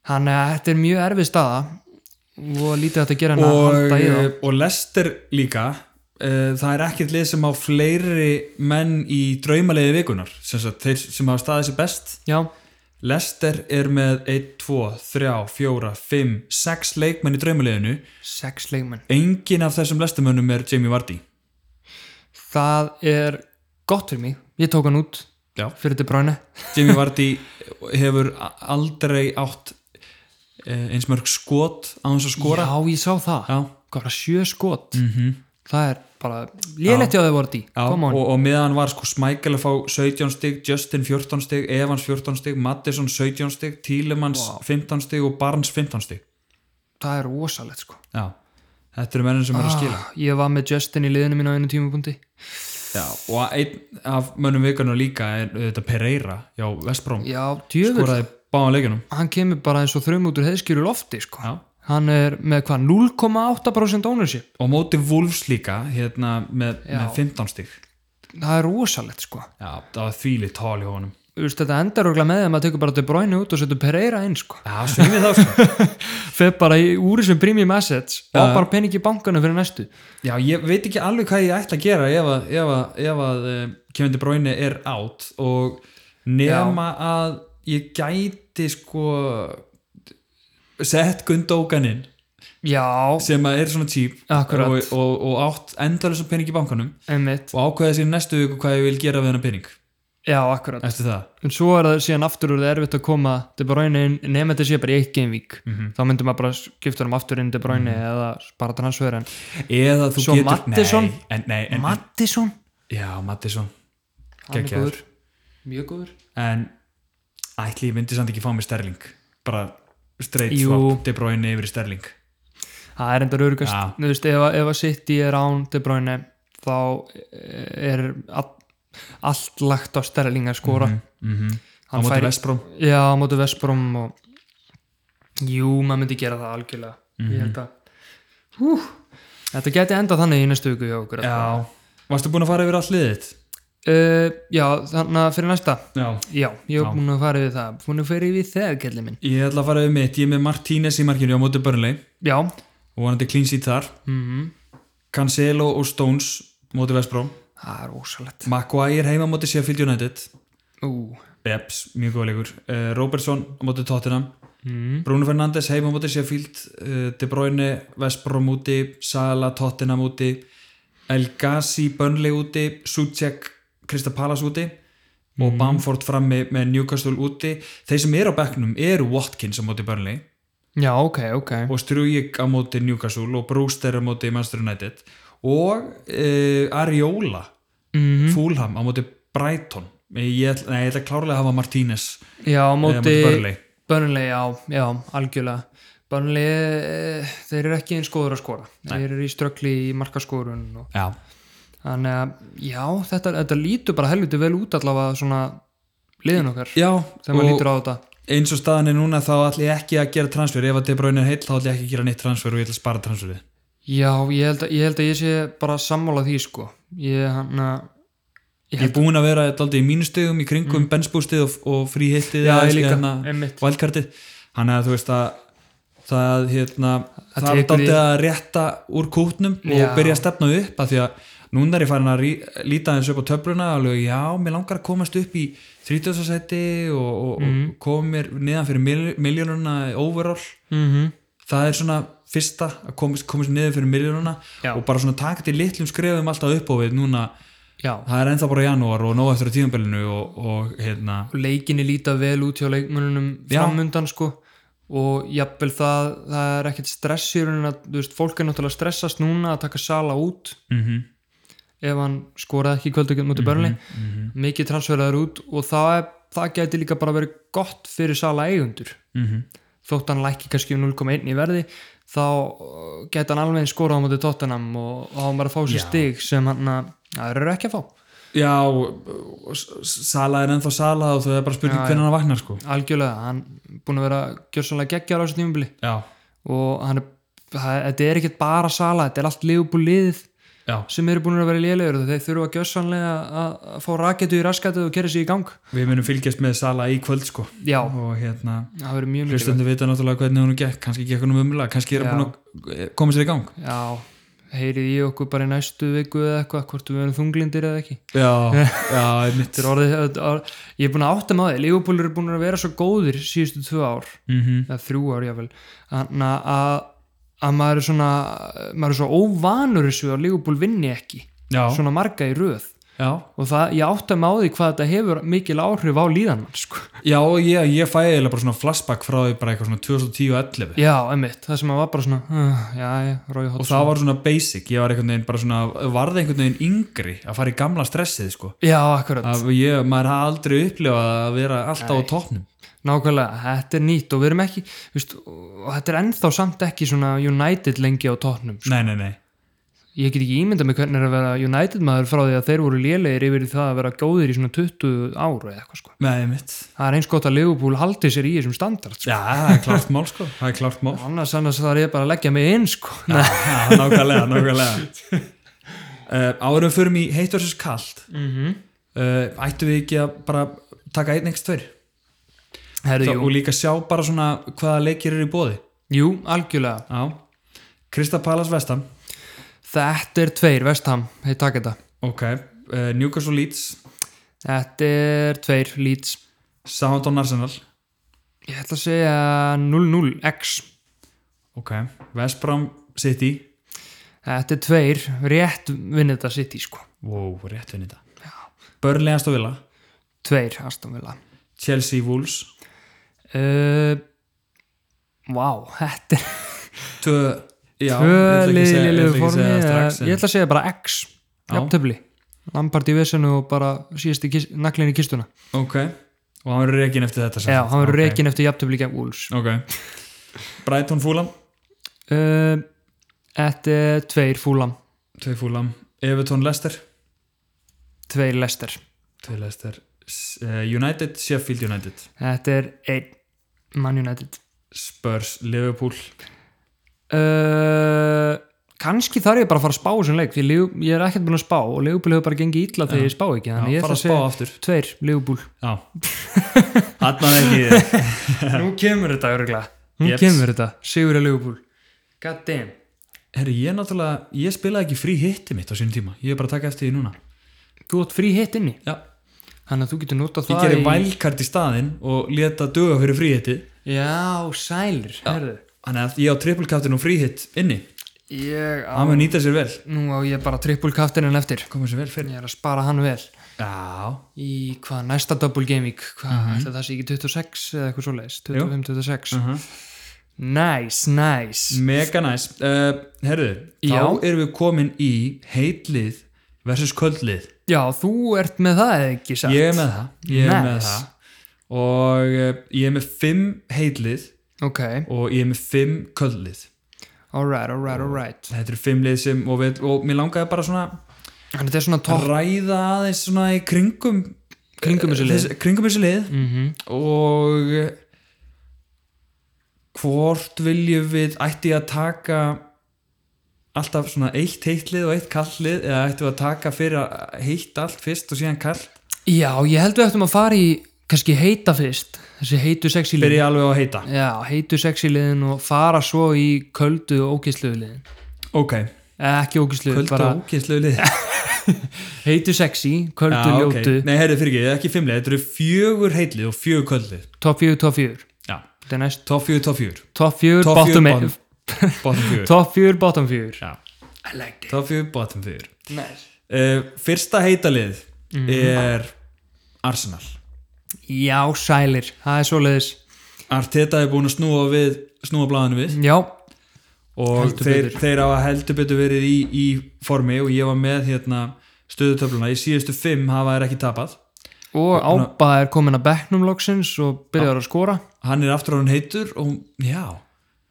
þannig að þetta er mjög erfið staða og lítið hægt að gera hann að halda í það
og, eh, og Lester líka uh, það er ekkert lið sem á fleiri menn í draumalegi vikunar sem, sagt, þeir sem hafa staðið sér best
já,
Lester er með 1, 2, 3, 4, 5 6 leikmenn í draumaleginu
sex leikmenn
engin af þessum Lestermönnum er Jamie Vardy
það er gott fyrir mig, ég tók hann út
Já.
fyrir þetta bráinu
Jamie Vardy hefur a- aldrei átt uh, eins mörg skot á hans að skora
já, ég sá það,
Já. Mhm.
bara sjö skot -hmm. það er bara lélegt hjá þau voru því,
Já,
koma
og, og meðan var sko Smækjel að fá 17 stig, Justin 14 stig, Evans 14 stig, Mattisson 17 stig, Tílemans 15 stig og Barnes 15 stig.
það er rosalegt sko
Já, þetta eru mennin sem eru að skila.
ah, ég var með Justin í liðinu mínu á einu tímapunkti
Já, og einn af mönnum vikarnar líka er þetta Pereira, já, Vestbróm,
já, djöfur,
skoraði báðan leikunum.
hann kemur bara eins og þrjum út úr heiðskýru lofti sko
Já.
hann er með hvað, 0,8% ownership
Og móti Wolfs líka, hérna, með, með 15 stig.
það er rosalegt sko
Já, það var þvílið tal í honum.
Þú veist, þetta endar örgulega með því að maður tekur bara De Bruyne út og setur Pereira inn sko
Já, sem við þá sko.
fer bara í, úr þessum premium assets og á bara pening í bankanum fyrir næstu
Já, ég veit ekki alveg hvað ég ætla að gera ef að, ef að, ef að uh, Kevin De Bruyne er átt og nema að ég gæti sko sett Gundóganinn
já,
sem að er svona típ
Akkurat.
og, og, og átt endalisa pening í bankanum
einmitt
og ákveða sér næstu viku hvað ég vil gera við hennar pening
já, akkurat
eftir það
en svo er það síðan aftur úr það erfitt að koma De Bruyne inn, nema þetta sé bara í eitt gamevík mm
Mhm.
þá myndum maður bara skipta um aftur inn De Bruyne eða bara transfer en
eða þú
Svo
getur
Mattisson?
nei, en, nei, en,
Mattisson,
já, Mattisson
hann er
Geggjaður.
góður mjög góður
en ætli ég myndi samt ekki fá mér sterling bara straight
Jú.
swap De Bruyne yfir í sterling
það er enda raugast,
Já.
þú veist, ef, að- ef að City er án De Bruyne þá eh, er all, allt lagt á Sterling að skora
Mhm. á
hann
móti
fær,
Vestbróm
já, á móti Vestbrom og jú, maður myndi gera það algjörlega,
Mhm.
ég held að hú, þetta geti endað þannig í næstu viku hjá okkur
Já, varstu búin að fara yfir allt liðið þitt?
Uh, já, þannig að fyrir næsta
Já
Já, ég
Já.
hef búin að fara yfir það Búin að fara yfir það, kallið minn
Ég ætla að fara yfir mitt, ég er með Martínez í markinu á móti Burnley
Já,
og vonandi clean seat þar
mm
Cancelo og Stones móti Vestbróm
það er ósalett
Maguire heima móti Sheffield United
Ú,
Eps, mjög góð leikur uh, Robertson á móti Tottenham
mm.
Bruno Fernandes heima móti Sheffield uh, De Bruyne, Vestbróm úti Sala, Tottenham úti El Ghazi, Burnley úti Suchek, Krista Palace úti og Bamford frammi með Newcastle úti þeir sem eru á bekknum eru Watkins á móti Burnley
já, ok, ok
og Strujik á móti Newcastle og Brewster á móti Manchester United og uh, Ariola
mm.
Fulham á móti Brighton ég, ætla- nei, ég ætla klárlega að hafa Martínez
Já, á
eh,
móti
Burnley
Börnlei, já, já, algjörlega Börnlei, þeir eru ekki eins góður að skora Þeir eru í ströggli í markaskorun og...
Já.
Þannig að, já, þetta, þetta lítur bara helviti vel út allavega svona liðin okkar
Já,
þegar maður
og
lítur á þetta
eins og staðan er núna þá ætla ég ekki að gera transfer ef að De Bruyne er heill þá ætla ég ekki að gera neitt transfer og ég ætla að spara transferið
Já, ég held, að, ég held að ég sé bara sammála því sko Ég, hann að
Ég er búinn að vera daldið í mínustugum í kringum mm. bensbústið og, og fríhittið
Já,
eða
ég líka,
hérna
einmitt
valkartið þannig að þú veist að það hérna
Það
það er
tekur í-
daldið að rétta úr kútnum
Já.
og byrja að stefna upp af því að núna er ég farin að rí, líta þessu upp á töfluna og alveg já, mér langar að komast upp í 30. seti og, og, og koma mér neðan fyrir mil, miljónuna overall
mm
Mhm.
-hmm.
það er svona fyrsta að komast, komast neðan fyrir miljónuna
Já.
og bara svona taka til litlum skrefum alltaf upp á við núna
Já,
það er ennþá bara janúar og nóg eftir að tíðanbelinu og, og hérna
og leikinni líta vel út hjá leikmönunum
Já.
framundan sko og jafnvel það, það er ekkert stress í raunin að, þú veist, fólk er náttúrulega að stressast núna að taka Sala út
mm
ef hann skoraði ekki kvöldu mútið
Mhm,
börnli, mikið transferaður út og það, er, það gæti líka bara verið gott fyrir Sala eigundur þótt hann lækki kannski um 0,1 í verði þá uh, gæti hann alveg eins skorað á mútið Tottenham og þá hann bara að fá sér
Já.
stig sem hann að, það eru ekki að fá
Já, og s- s- Sala er ennþá Sala og það er bara spurning
Já,
hvernig hann vaknar sko.
algjörlega, hann búin að vera gjörsanlega geggjar á þessu tímubili
Já,
og hann er, það- þetta er ekkert bara sala, þetta er allt liðbúlið
já.
sem eru búin að vera lélegur og þeir þurfa gjörsanlega að að fá raketu í raskatu og kera sig í gang
Við munum fylgjast með Sala í kvöld sko.
já,
og hérna,
það verður mjög mikilvægt
hlustundu vita náttúrulega hvernig hún gekk, kannski gekk hún um umla, kannski er
Já.
hann búin að eh, koma sér í gang.
já, heyrið í okkur bara í næstu viku eða eitthvað, hvort við erum þunglindir eða ekki
Já, já, mitt
Þetta er orðið, þetta er orðið, ég er búin að átta með því Leopold eru búin að vera svo góðir síðustu tvö ár
mm
eða þrjú ár jáfnvel þannig að, að maður er svona maður er svo óvanur þessu að Leopold vinni ekki
Já,
svona marga í röð
já,
og það, ég átta mig á því hvað þetta hefur mikil áhrif á líðan mann sko.
já, og ég, ég fæ eiginlega bara svona flashback frá því bara eitthvað svona 2010-11
já, emmitt, það sem að var bara svona uh, já, já, Rói
og
Hotsson
það var svona basic, ég var einhvern veginn bara svona, varði einhvern veginn yngri að fara í gamla stressið sko.
já, akkurat,
Að ég, maður hafði aldrei upplifað að vera alltaf á toppnum. sko.
nákvæmlega þetta er nýtt og við erum ekki viðst, og þetta er ennþá samt ekki svona United lengi á tóknum sko.
Nei, nei, nei.
ég get ekki ímyndað mig hvernig er að vera United maður frá því að þeir voru lélegir yfir í það að vera góðir í svona 20 ára eða eitthvað sko
Nei, mitt.
það er eins gott að Liverpool haldi sér í þessum standard sko.
Já, það er klart mál sko, það er klart mál
annars, annars þarf ég bara að leggja mig inn sko
Já, já, nákvæmlega, nákvæmlega uh, Árum förum í heitt versus kalt
mm -hmm.
uh, Ættum við ekki að bara taka einn ekst tveir
Herri,
og
jú,
líka sjá bara svona hvaða leikir eru í bóði
jú, algjörlega
Já, Krista Palas Vestam
Þetta er tveir, Vestham, ég takk þetta.
Ok, uh, Newcastle Leeds
Þetta er tveir, Leeds.
Southampton Arsenal
Ég ætla að segja 0-0-X.
Ok, West Brom City
Þetta er tveir, rétt vinnið þetta sitt í sko.
Wow, rétt vinni þetta Burnley Aston Villa
Tveir, Aston Villa.
Chelsea Wolves
Uh, Vá, þetta er
Tvö, já,
tvö
ég ætla ekki að segja- ég ætla ekki
liðlilegu
að
formi.
segja það
eh,
strax, en-
Ég ætla að segja bara X,
Já.
jafntöfli. Lampart í vesenu og bara síðast í kist, naglinn í kistuna.
Ok, og hann verður rekin eftir þetta sem
Já,
sagt.
hann verður
Ok.
rekin eftir jafntöfli gegn Wolves.
Ok, Brighton Fúlam
Uh, Þetta er tveir, Fúlam.
Tvei Fúlam, Everton Leicester
Tveir, Lester.
Tvei Leicester, S- eh, United Sheffield United,
Þetta er einn, Man United.
Spurs Liverpool,
Uh, kannski þarf ég bara að fara að spá þessum leik því Liv- ég er ekkert búin að spá og Leopold hefur bara gengið illa þegar ég spá ekki
já,
þannig ég
fara að
ætla að
spá
segja
aftur
tveir Leopold
Já, hann ekki í þig.
nú kemur þetta örgulega nú
Jeps.
kemur þetta, Sigur er Leopold god damn
Herri, ég náttúrulega, ég spilaði ekki frí hitti mitt á sínum tíma, ég er bara að taka eftir því núna
þú átt frí hitt inni
Já,
þannig að þú getur notað
ég
það
gerir vælkart í staðinn og leta duga fyrir frí hitti
já, sælir herðu.
Þannig að ég á triple captain og frí hitt inni
ég á
Hann mun nýta sér vel
nú á ég bara triple kaftinin eftir
Koma sér vel fyrir
ég er að spara hann vel
Já,
í hvað næsta double game week hvað, uh það sé ekki 26 eða eitthvað svoleiðis 25-26 uh
Mhm.
nice, nice
Mega næs uh, Herðu,
Já.
þá erum við komin í heitlið versus köldlið
Já, þú ert með það eða ekki sagt?
Ég er með það, ég er með
Nice.
það og uh, ég er með fimm heitlið
Ok,
og ég er með fimm köldlið
alright, alright, alright.
Þetta eru fimm lið sem og, við, og mér langaði bara svona
Þannig þetta er svona topp
ræða aðeins svona í kringum
kringum þessu lið.
þessi- kringum þessi lið
Mm
og eh, hvort viljum við ætti ég að taka alltaf svona eitt heitlið og eitt kalllið eða ættum við að taka fyrir að heitt allt fyrst og síðan kall
Já, ég held við eftir að fara í kannski heita fyrst þessi heitu sexy liðin
Byrja alveg á að heita
já, heitu sexy liðin og fara svo í köldu og ógisluðu liðin
Ok,
Eh, ekki ógisluðu,
kvöldu
bara
og kynslu lið
heitu sexy, köldu,
Já, ok.
ljótu
Nei, herri, fyrir ekki, það er ekki fimmlið Þetta eru fjögur heitlið og fjögur kvöldlið
top 4, top 4
Já,
þetta er næst
top fjögur, top fjögur
top 4,
Top
bottom
fjögur,
4
Bottom fjögur
top 4, bottom 4
Já,
I liked it
top fjögur, bottom fjögur
nice.
uh, Fyrsta heitalið
Mhm.
er Arsenal
já, sælir, það er svoleiðis
Arteta er búin að snúa við snúa blaðinu við
já,
og
Heldur
þeir,
betur.
þeir hafa heldur betur verið í, í formi og ég var með hérna, stöðutöfluna, í síðustu fimm hafa þeir ekki tapað
og ába er komin að bekknum loksins og byrjar að skora
hann er aftur á hann heitur og já,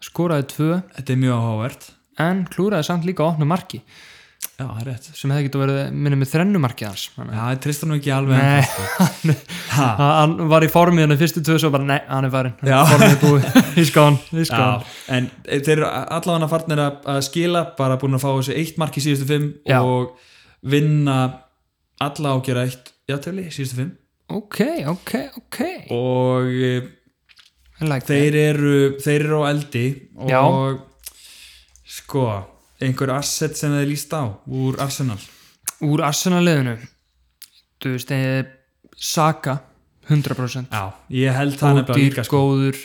skoraði tvö
þetta er mjög áhugavert
en klúraði samt líka opnu marki
já, það er rétt
sem hefði getið verið minni með þrennu marki hans
já, ég trista nú ekki alveg
Nei.
en það, sko. Ha,
hann var í formið hann í fyrstu tvö svo bara nei, hann er farin
Já.
formið er búið, he's gone, he's
já,
gone.
Sko, en þeir eru allavega farnir að, að skila bara búin að fá þessi eitt mark í síðustu fimm
Já.
og vinna alla ágjöra eitt játtöfli í síðustu fimm
ok, ok, ok
og eh,
I like that.
þeir eru, þeir eru á eldi og
Já.
sko einhver asset sem þeir líst á úr Arsenal
úr Arsenal-liðinu þú veist, eh, Saka 100%
já, ég held það nefnilega
ódýr,
líka sko.
góður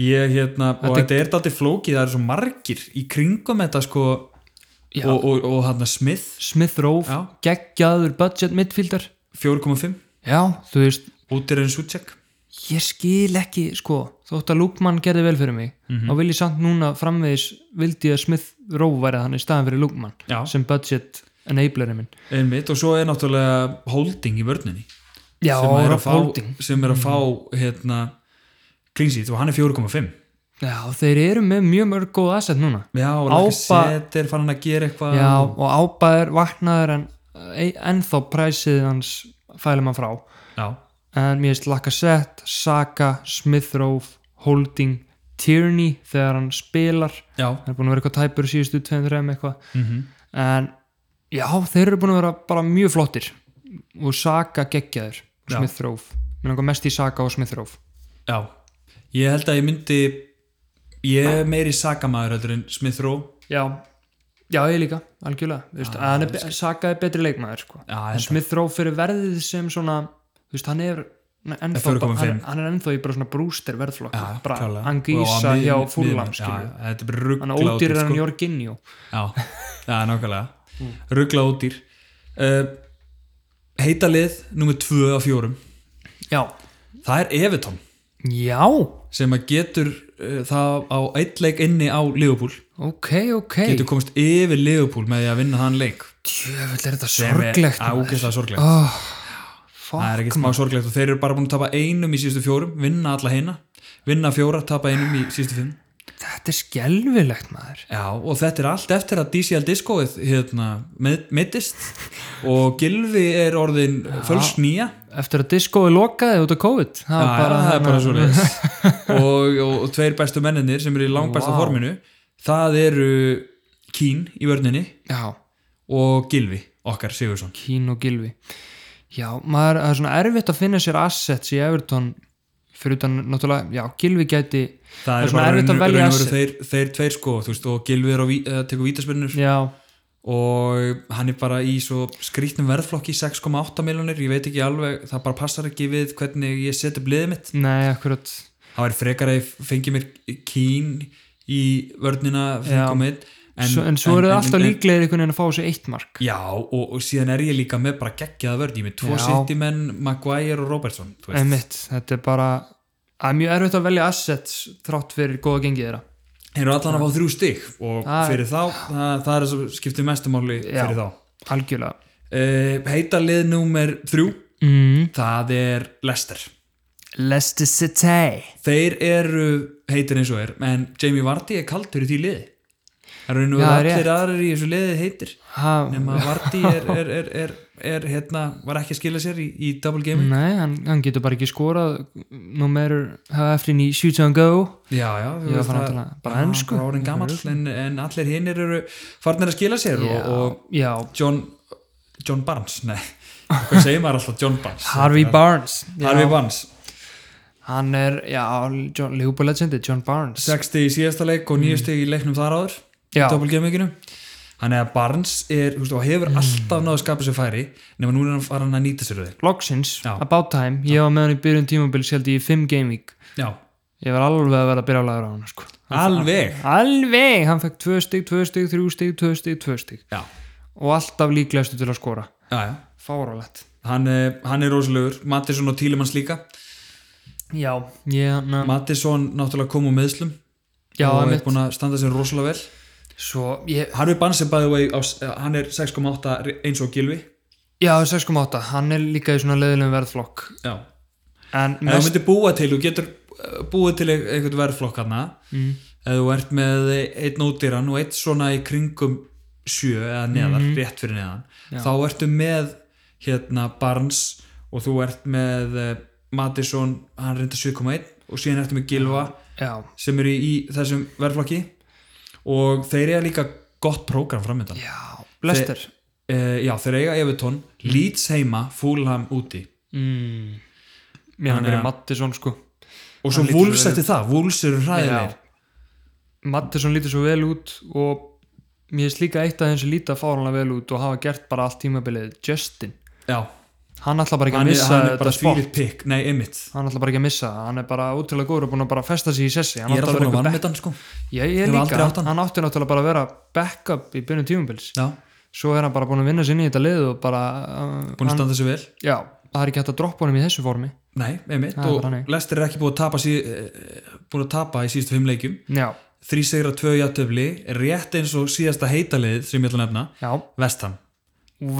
ég, hérna, og
Þetta-
þetta er dálítið flókið það eru svo margir í kringum þetta sko og,
Já.
og, og, og hann Smith
Smith Rowe,
Já.
geggjaður budget midfielder
4,5
já, þú veist,
útir en Suchek
ég skil ekki sko, þótt að Lukman gerði vel fyrir mig þá vil ég samt núna framvegis vildi ég að Smith Rowe væri hann í staðan fyrir Lukman
Já.
sem budget enablerinn minn
einmitt og svo er náttúrulega holding í vörninni
já,
sem er að fá,
holding Mm.
sem er að fá hérna, clean sheet og hann er 4,5
já, þeir eru með mjög mörg góð asset núna
já, og Ába...
Ába-
set er farin að gera eitthvað
já, og ábæður vaknaður en e- ennþá præsið hans fælum hann frá
já.
en mér finnst Lacazette, Saka, Smith Rowe, Holding Tierney þegar hann spilar
já.
hann er búin að vera eitthvað tæpur síðustu 2-3 eitthvað en já, þeir eru búin að vera bara mjög flottir og Saka geggjaður
Já.
Smith Rowe, mér langar mest í Saka og Smith Rowe
Já, ég held að ég myndi ég er meiri sakamæður heldur en Smith Rowe
já, já ég líka, algjörlega Þú veist, ah, er, be- Saka er betri leikmaður sko.
Já,
en Smith Rowe fyrir verðið sem svona, þú veist, hann er hann er ennþá,
4,5.
hann, er- hann er ennþá í bara svona brúster verðflokk bara
klárlega.
angísa
Og á mið-
hjá
mið-
fúllam
miðjum, já, Þetta er bara ruggla
hann er ódýrir en Mm. Jorginho
Já, já nákvæmlega Ruggla ódýr uh, Heitalið nummer 2 á fjórum
já,
Það er Evertón
já,
sem að getur uh, það á eitt leik inni á Liverpool
ok, ok
getur komist yfir Liverpool með því að vinna þann leik
djöfull er þetta
Sem er
sorglegt maður.
ágæslega sorglegt
oh,
Það er
fuck
ekki smá sorglegt og þeir eru bara búin að tapa einum í síðustu fjórum, vinna alla heina, vinna fjóra, tapa einum í síðustu fimm.
þetta er skelvilegt maður
Já, og þetta er allt eftir að DCL Discoið hérna, með- meiddist og Gilvi er orðin fölsk nýja.
eftir að diskói lokaði út af COVID það
Já,
var bara,
já, það er
hérna-
bara svo leiðis. og, og, og tveir bestu menninir sem eru í langbæsta
Vá.
forminu, það eru Kín í vörninni
já,
og Gilvi, okkar Sigursson.
Kín og Gilvi já, maður, það er svona erfitt að finna sér assets í Everton fyrir utan, náttúrulega, já, Gilvi gæti
Það
er svona erfitt að velja
raunveru
asset.
þeir, þeir tveir sko, þú veist, og Gilvi er að ví- eh, tekur vítaspinnur.
já,
og hann er bara í svo skrýtnum verðflokki 6,8 miljonir, ég veit ekki alveg það bara passar ekki við hvernig ég set upp liðið mitt
nei, akkurat
það væri frekar að ég fengi mér kín í vörnina
Já.
fengum einn
en, en svo eru það alltaf líklegir einhvern veginn að fá sér eitt mark
já og, og síðan er ég líka með bara geggjaða vörð ég er með tvo
Já.
sittimenn, Maguire og Robertson þú veist.
Einmitt, þetta er bara það er mjög erfitt að velja assets þrátt fyrir góða gengið þeirra
þeir eru allan að fá þrjú stig og
Það er-
fyrir þá, það, það er það skiptir mestumáli
Já.
fyrir þá
algjörlega
uh, heita lið númer þrjú
mm.
það er Lester
Leicester City
Þeir eru heitir eins og er en Jamie Vardy er kaldur í því liði Það eru nú
Já,
allir
rétt.
aðrir í þessu liði heitir
ha,
nema að Vardy er, er, er, er, er hérna, var ekki að skila sér í, í double gaming
Nei, hann, hann getur bara ekki skorað nú meður hafa eftir inn í shoot and go
Já, já, þú
Já,
veist
bara
það-
náttúrulega, bara
Já,
ensku.
bara orðin gamall en, en allir hinnir eru farnir að skila sér
já,
og,
já,
og John John Barnes, nei hvað segir maður alltaf John Barnes
Harvey Barnes já,
Harvey Barnes
hann er, já, John, Liverpool legendi John Barnes
60 í síðasta leik og 9 stig í leiknum þar áður
Mm. Já.
doppelgemikinu þannig að Barnes er, þú veist, og
Mm.
hefur alltaf náðu að skapa sér færi nema núna er hann farin að nýta sér þau
Loksins,
Já.
about time ég var með hann í byrjun tímabils held ég í 5 game week
já,
ég var alveg að vera að byrja á lagur á hann sko.
alveg
alveg, hann fekk 2 stig, 2 stig, 3 stig 2 stig, 2 stig
já,
og alltaf líklegastu til að skora
já, já
fáralegt
Hann, eh, hann er rosalegur, Mattisson og Tílemanns líka
já, ég, na,
Mattisson náttúrulega kom úr meðslum
já
og er
einmitt.
búin að standa sér rosalega vel
svo, ég,
Harfi Barnes er by the way á, s- eh, hann er 6,8 re- eins og Gilvi
já, 6.8 hann er líka í svona leðilegum verðflokk
já,
en
en þú
mest,
myndir búa til þú getur eh, búið til eit- eitthvað verðflokk hann
Mm.
eða þú ert með e- einn ódýran og eitt svona í kringum sjö eða neðar, rétt fyrir neðan
Mhm. Já.
þá ertu með hérna Barnes og þú ert með uh, Mattisson, hann reynda 7,1 og síðan ertu með Gilva
já,
sem eru í þessum verðflokki og þeir eiga líka gott prógram framöndan
já, lester
uh, já, þeir eiga Evertón,
Mhm.
Leeds heima Fulham úti
mm. mér
Þannig
hann
að-
verið Mattisson sko
og svo
Hann lítur
Wolves
vel
eftir það, Wolves eru hræðilegir
Mattisson lítur svo vel út og mér finnst líka eitt að hans líta fáránlega vel út og hafa gert bara allt tímabilið Justin,
já,
hann ætla bara ekki
hann
að
er,
missa
hann er
þetta
bara
sport,
þvílitt pikk, nei, Emmitt
hann ætla bara ekki að missa það. hann er bara útrúlega góður og búin að bara festa sig í sessi hann
ég er
átti
alltaf búin að
vera
vann
einhver
með þann sko
back- Já, ég
Ég hef aldrei
líka,
átt hann.
hann átti náttúrulega bara að vera backup í byrjun tímabils
já,
svo er hann bara búin að vinna sinni í þetta lið og bara uh,
búin að standa sig vel
já, það er ekki hægt að droppa honum í þessu formi
nei, Emmitt,
Það er
og
bara þannig.
Lester er ekki búin að tapa sí, eh, búin að tapa í síðustu fimm leikjum
já,
þrý segra tvö játtöfli, rétt eins og síðasta heitalið sem ég ætla að nefna
já,
Vestham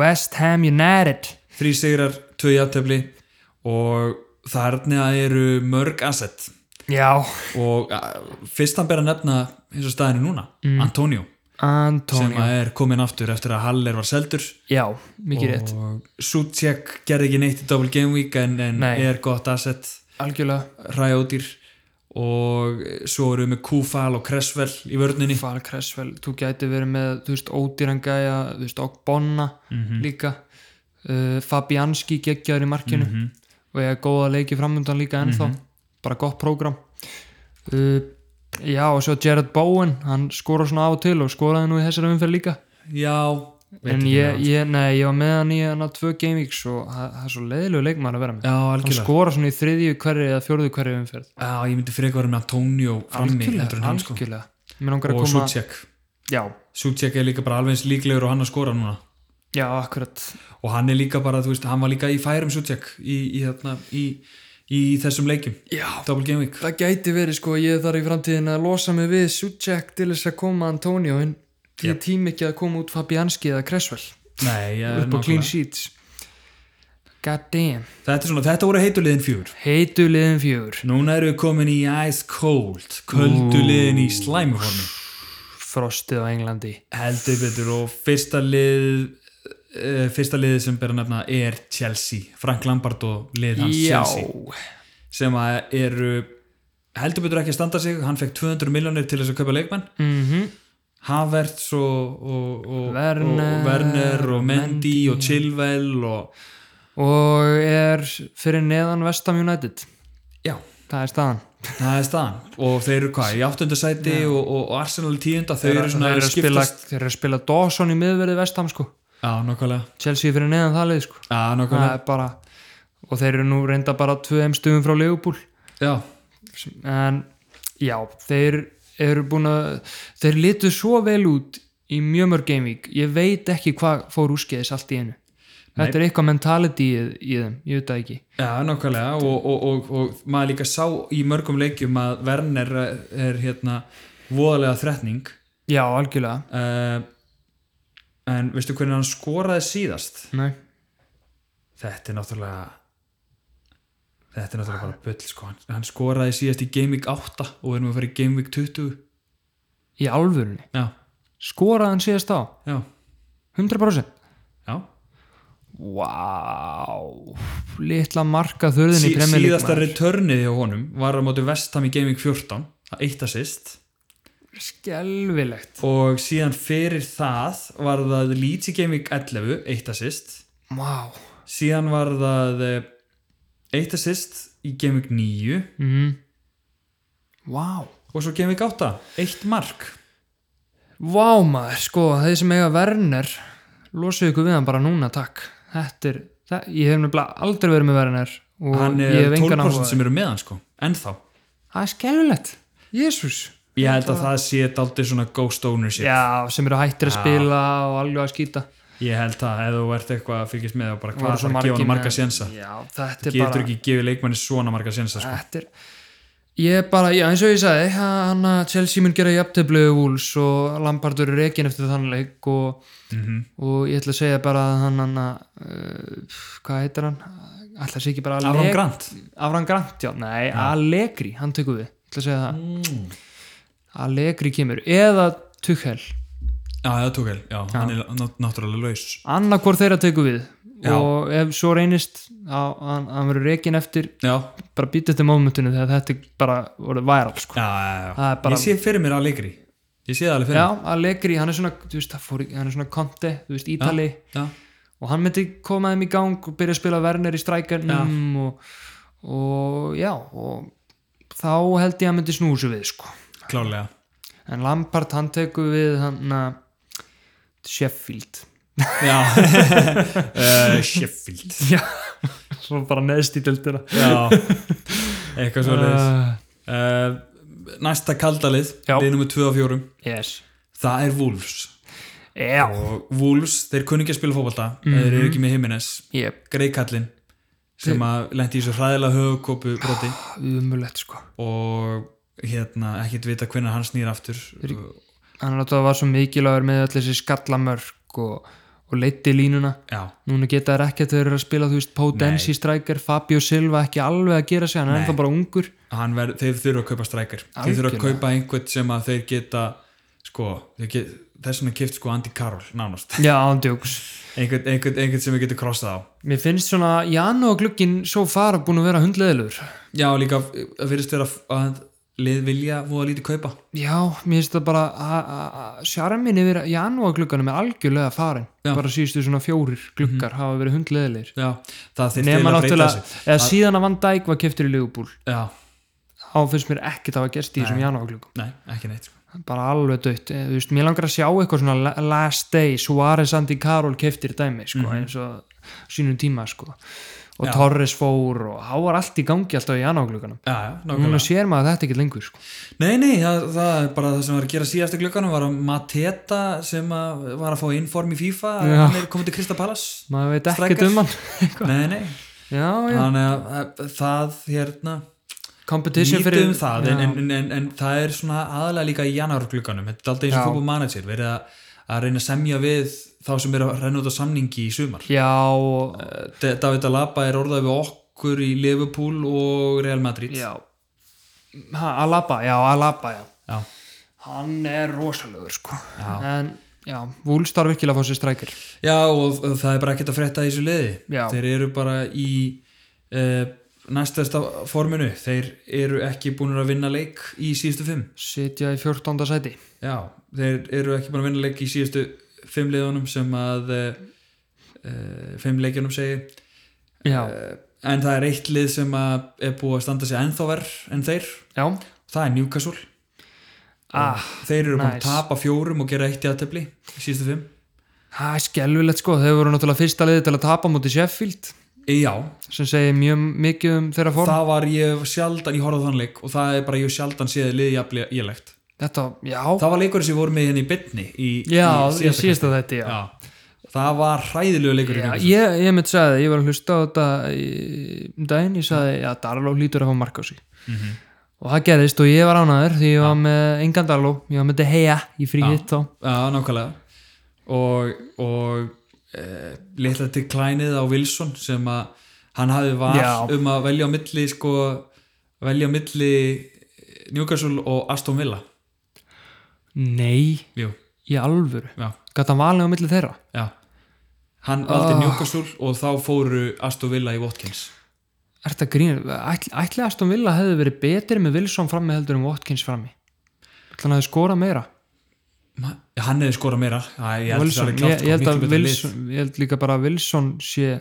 West Ham United
þrý sigrar, tvö játtöfli og þarna eru mörg asset
já,
og uh, fyrst hann ber að nefna eins og staðinu núna, Antonio sem
Mm. Antonio
að er komin aftur eftir að Haller var seldur
já, mikið rétt
og Suchek gerði ekki neitt í double game week en, en
Nei.
er gott asset
algjörlega
ræjódýr og eh, svo eru við með Kúfal og Cresswell í vörninni
Far Cresswell, þú gæti verið með þú veist, ódýran gæja, þú veist, Ogg Bonna líka uh, Fabianski geggjaður í markinu og ég er góða leiki framöndan líka ennþá bara gott prógram uh, já, og svo Jared Bowen hann skora svona á og til og skoraði nú í þessari umferð líka
já, veit
en
ekki
ég,
hvað.
ég, nei, ég var með hann í hann að tvö gamevíks og það það er svo leiðilegu leikmann að vera með
já,
hann sko-
algjörlega
skora svona í þriðju hverju eða fjórðu hverju umferð
já, ég myndi frekar vera með Antonio frammi heldur en hann sko
algjörlega Mér langar að
og
koma,
Suchek
já,
Suchek er líka bara alveg eins líklegur og hann að skora núna
já, akkurat
og hann er líka bara, þú veist, hann var líka í færum Suchek í, í, þarna, í, í þessum leikjum
Já,
Double Game Week
það gæti verið sko að ég þarf í framtíðin að losa mig við Suchek til þess að koma Antonio en ég
Já.
tím ekki að koma út Fabianski eða Cresswell
Nei, ja,
upp á clean sheets God damn
þetta, er svona, þetta voru heituliðin fjör
Heitu liðin fjögur
Núna eru við komin í Ice Cold Kölduliðin í slæmuformi
Frostið á Englandi
Heldur betur og fyrsta lið uh, fyrsta liðið sem ber að nefna er Chelsea, Frank Lampard og lið hans
Já
Chelsea sem að eru heldur betur ekki að standa sig, hann fekk 200 miljónir til þess að kaupa leikmenn
mm
Havertz og, og, og,
Werner.
og, Werner og Mendy og Chilwell og
Og er fyrir neðan Vestam United
já,
Það er staðan
það er staðan og þeir eru hvað, í áttunda sæti og, og, og Arsenal í tíunda, þau
Þeir
eru svona
eru að spila, þeir eru að spila Dawson í miðverði Vestam sko
já, nokkvælega
Chelsea fyrir neðan það leið sko
já,
Það
nokkvælega,
er bara Og þeir eru nú reynda bara tveim stugum frá Leopold
já,
en já, þeir eru búin að þeir litu svo vel út í mjög mörg gamevík, ég veit ekki hvað fór úrskeiðis allt í einu þetta er eitthvað mentality í, í þeim, ég veit það ekki
já, nokkvælega og, og, og, og maður líka sá í mörgum leikjum að Werner er hérna voðalega þretning
já, algjörlega
uh, en veistu hvernig hann skoraði síðast
Nei.
þetta er náttúrulega þetta er náttúrulega bara bull sko. hann, hann skoraði síðast í Game Week 8 og við erum að fara í Game Week 20
í alvörunni,
já,
skoraði hann síðast á
já,
100%
já
wow litla marka þurðin
Sí,
í Premier League
síðasta
maður.
returnið hjá honum var á móti vestam í Game Week 14 það eitt assist
skelvilegt
og síðan fyrir það var það Leeds í Game Week 11 eitt assist
wow,
síðan var það eh, eitt assist í Game Week 9
Mhm. Vá
og svo Game Week 8, eitt mark
Vá maður, sko, þeir sem eiga Werner losið ykkur við hann bara núna, takk Þetta er, það, ég hef nefnilega aldrei verið með Werner og
hann
ég
er
hef engan áhuga
12%
á því.
sem eru með hann sko, ennþá
Það er skelvilegt, jésús
ég held að það sé daldið svona ghost ownership
Já, sem eru hættir að
Já.
spila og alveg að skýta
ég held að ef þú ert eitthvað að fylgjast með þá bara hvað
Voru
er
svo
að gefa hann
með-
marga sénsa
Já, þetta er
getur
bara
ekki gefið leikmanni svona marga sénsa sko.
Þetta er Ég bara, já eins og ég sagði, hann að Chelsea mun gera jafntöflu Wolves og Lampard eru rekin eftir þann leik og,
Mhm.
og ég ætla að segja bara að hann hann að, uh, hvað heitir hann? Ætla að segja ekki bara
Aron
Alleg-
Grant
Avram Grant, já, nei, Allegri, hann tekur við, ég ætla að segja það.
mm.
Allegri kemur, eða Tuchel,
já, það tók hel, já, hann er ná- náttúrulega laus
annarkvor þeirra tekur við
Já.
og ef svo reynist að hann, hann verður rekin eftir,
já,
bara býta eftir mómentinu þegar þetta er bara voru væral, sko.
já, já, já.
Það er bara-
ég sé fyrir mér að leikri ég sé það alveg fyrir
Já, Allegri, hann er svona, þú veist, það fór, í- hann er svona Conte, þú veist, Ítali
mér já.
og hann myndi koma þeim í gang og byrja að spila Werner í strækarnum og, og já, og þá held ég að hann myndi snúi sig við, sko.
klálega
En Lampard, hann tekur við hann að Sheffield.
já
Eh,
uh, Sheffield
Já, svo bara neðst í deltina.
já, eitthvað svo leiðis
Uh,
næsta kaldalið,
Já.
lið nummer 2 og 4
yes.
það er Wolves
Já.
og Wolves, þeir kunni ekki að spila fótbolta
Mhm.
þeir eru ekki með Jimenez,
Yep,
Greikallin sem að lendi í svo hræðilega höfukópu broti
umulett, sko.
og hérna, ekkert vita hvernig hann snýr aftur
Hann er náttúrulega var svo mikilvægur með allir þessi skallamörk og, og leiti línuna.
já,
Núna geta þær ekki að þau eru að spila, þú veist, Potensi strækir, Fabio Silva ekki alveg að gera sig, hann er ennþá bara ungur.
hann ver, þeir þurfa að kaupa strækir þeir þurfa að
Algjörlega.
kaupa einhvern sem að þeir geta sko, þeir get, þess vegna kift sko Andy Carroll nánast
Já, ándjóks.
einhvern, einhvern, einhvern sem við getum krossað á
Mér finnst svona, Janu og glugginn svo fara búin að vera hundleðilur.
já, líka að virðist vera að lið vilja voða lítið kaupa
Já, mér finnst það bara að- að- að sjarmin yfir Janu og glugganum er algjörlega farin.
Já.
Bara síðustu svona fjórir gluggar hafa verið hundleðilir.
já, það þeir
Nefna
að breyta
náttúrulega,
þessu
eða síðan að Van Dijk var keftur í Ligubúl,
já,
þá finnst mér ekkert að hafa gerst í þessum Janu og gluggum.
nei, ekki neitt sko.
Bara alveg dött. Eh, Þú veist, mér langar að sjá eitthvað svona la- last day, Suárez Andi Karol keftir dæmi, sko, eins og á sínum tíma, sko. Og
Mhm. Já.
Torres fór og há var allt í gangi alltaf í Janu og glugganum.
já, já,
Núna
nákvæmlega
sér maður þetta ekki lengur, sko.
Mm. Nei, nei, það, það er bara það sem var að gera síðasta glögganum var að Mateta sem að var að fá inform í FIFA
Já.
hann er komið til Krista Palas
Maður veit ekkert
Strikers.
um hann.
Nei, nei,
Já, já.
þannig að það hérna,
Competition
lítið
fyrir...
um það en,
Já.
en, en, en, en það er svona aðalega líka í janúar glögganum, þetta er alltaf eins og
Já.
fútbol manager verið að, að reyna að semja við þá sem eru að renna út á samningi í sumar
Já, og-
D- David Alaba er orðað við okkur í Liverpool og Real Madrid
já. Ha, Alaba, já, Alaba, já.
Já.
Hann er rosalegur, sko. En, já, Wolves þarf virkilega að fá sér strækir.
Já og og það er bara ekkert að frétta í þessu liði
Já.
þeir eru bara í uh, næstasta forminu þeir eru ekki búin að vinna leik í síðustu fimm
Sitja í 14. sæti.
Já, þeir eru ekki búin að vinna leik í síðustu fimm liðunum sem að uh, uh, fimm leikjunum segir
Já,
uh, en það er eitt lið sem að er búið að standa sig ennþá verð en þeir
já.
það er Newcastle
Ah,
þeir eru búin
nice.
að tapa fjórum og gera eitt í aðtefli í síðustu fimm
það er skelvilegt, sko. Þau voru náttúrulega fyrsta liði til að tapa múti Sheffield,
Já,
sem segir mjög mikið um þeirra form.
það var ég sjaldan, ég horfði á þann leik og það er bara ég sjaldan séð liðjafli ílegt
Þetta, já.
það var leikur sem við vorum með henni í bytni í,
já,
í
ég síðast að þetta, já.
já. það var hræðilegu leikur
Já,
já,
ég, ég mitt sagði, það, ég var að hlusta á þetta í- um daginn, ég sagði að Darló hlýtur að fá mark á sig og það gerðist og ég var ánæður því ég var með engan Darló, ég var með De Gea í frí hitt þá
já, nákvæmlega og, og e, litla til klænið á Wilson sem að hann hafi var
Já.
um að velja á milli sko, velja á milli Newcastle og Aston Villa
Nei,
jú,
í alvöru
já,
Gat hann valið á milli þeirra
já hann valdi
Ah.
Newcastle og þá fóru Aston Villa í Watkins
Ertu að grína, ætli, ætli Aston Villa hefði verið betri með Wilson frammi heldur en Watkins frammi Þannig að það skora meira
Ma- hann hefði skorað meira Æ, ég held
Wilson,
að það er
ég,
klárt
ég, held
sko,
að
miklu betra lið.
Wilson, ég held líka bara að Wilson sé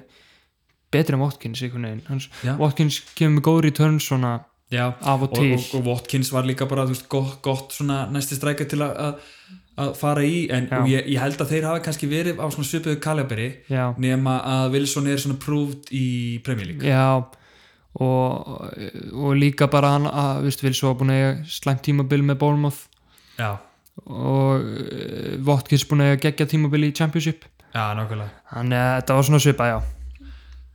betri en Watkins einhvern veginn Hans,
Já.
Watkins kemur með góð return svona
Já,
af
og,
og til
og, og Watkins var líka bara þú veist, gott, gott svona næsti strækja til að- að að fara í en
Já.
og ég, ég held að þeir hafa kannski verið á svona svipuðu kalaberi
Já,
nema að Wilson er svona prúft í Premier League
já og, og líka bara hann að, viðst, vil svo búin að eiga slæmt tímabil með Bournemouth
Já,
og uh, Watkins búin að eiga geggja tímabil í Championship
já, nákvæmlega
hann, uh, þetta var svona svipa, já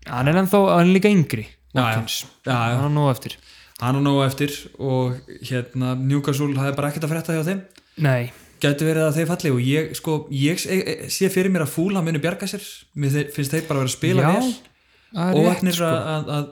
hann er ennþá, hann er líka yngri
Já, já.
Watkins,
Já, já,
hann er nú eftir
hann og nógu eftir og hérna Newcastle hafði bara ekkert að frétta hjá þeim
nei,
Gæti verið að þeir falli og ég, sko, ég e- e- sé fyrir mér að fúla muni bjarga sér Mér þe- finnst þeir bara að vera að spila
Já,
vel
það er rétt
óöfnir
sko.
að, að, að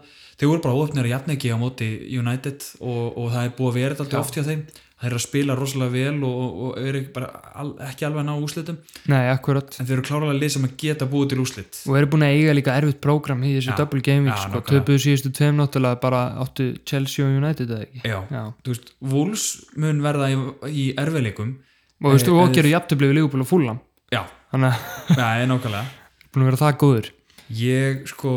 þeir voru bara óöfnir að jafna ekki á móti United og, og það er búið að vera þetta alltaf oft hjá þeim það er að spila rosalega vel og, og, og eru bara al, ekki alveg að ná úslitum
nei, akkurat
en þeir eru klárlega lið sem að geta búið til úslit
og eru búin að eiga líka erfitt prógram í þessu
Já.
double gaming,
Já,
sko,
nákvæmlega.
töpuðu síðustu tveim náttúrulega bara áttu Chelsea og United eða ekki
Já.
já.
þú veist, Wolves mun verða í, í erfiðleikum
og þú veist,
Eh,
og
en-
okkur eru jafntöfli við Liverpool og Fulham
já,
þannig að
það er nákvæmlega
búin að vera það góður
ég sko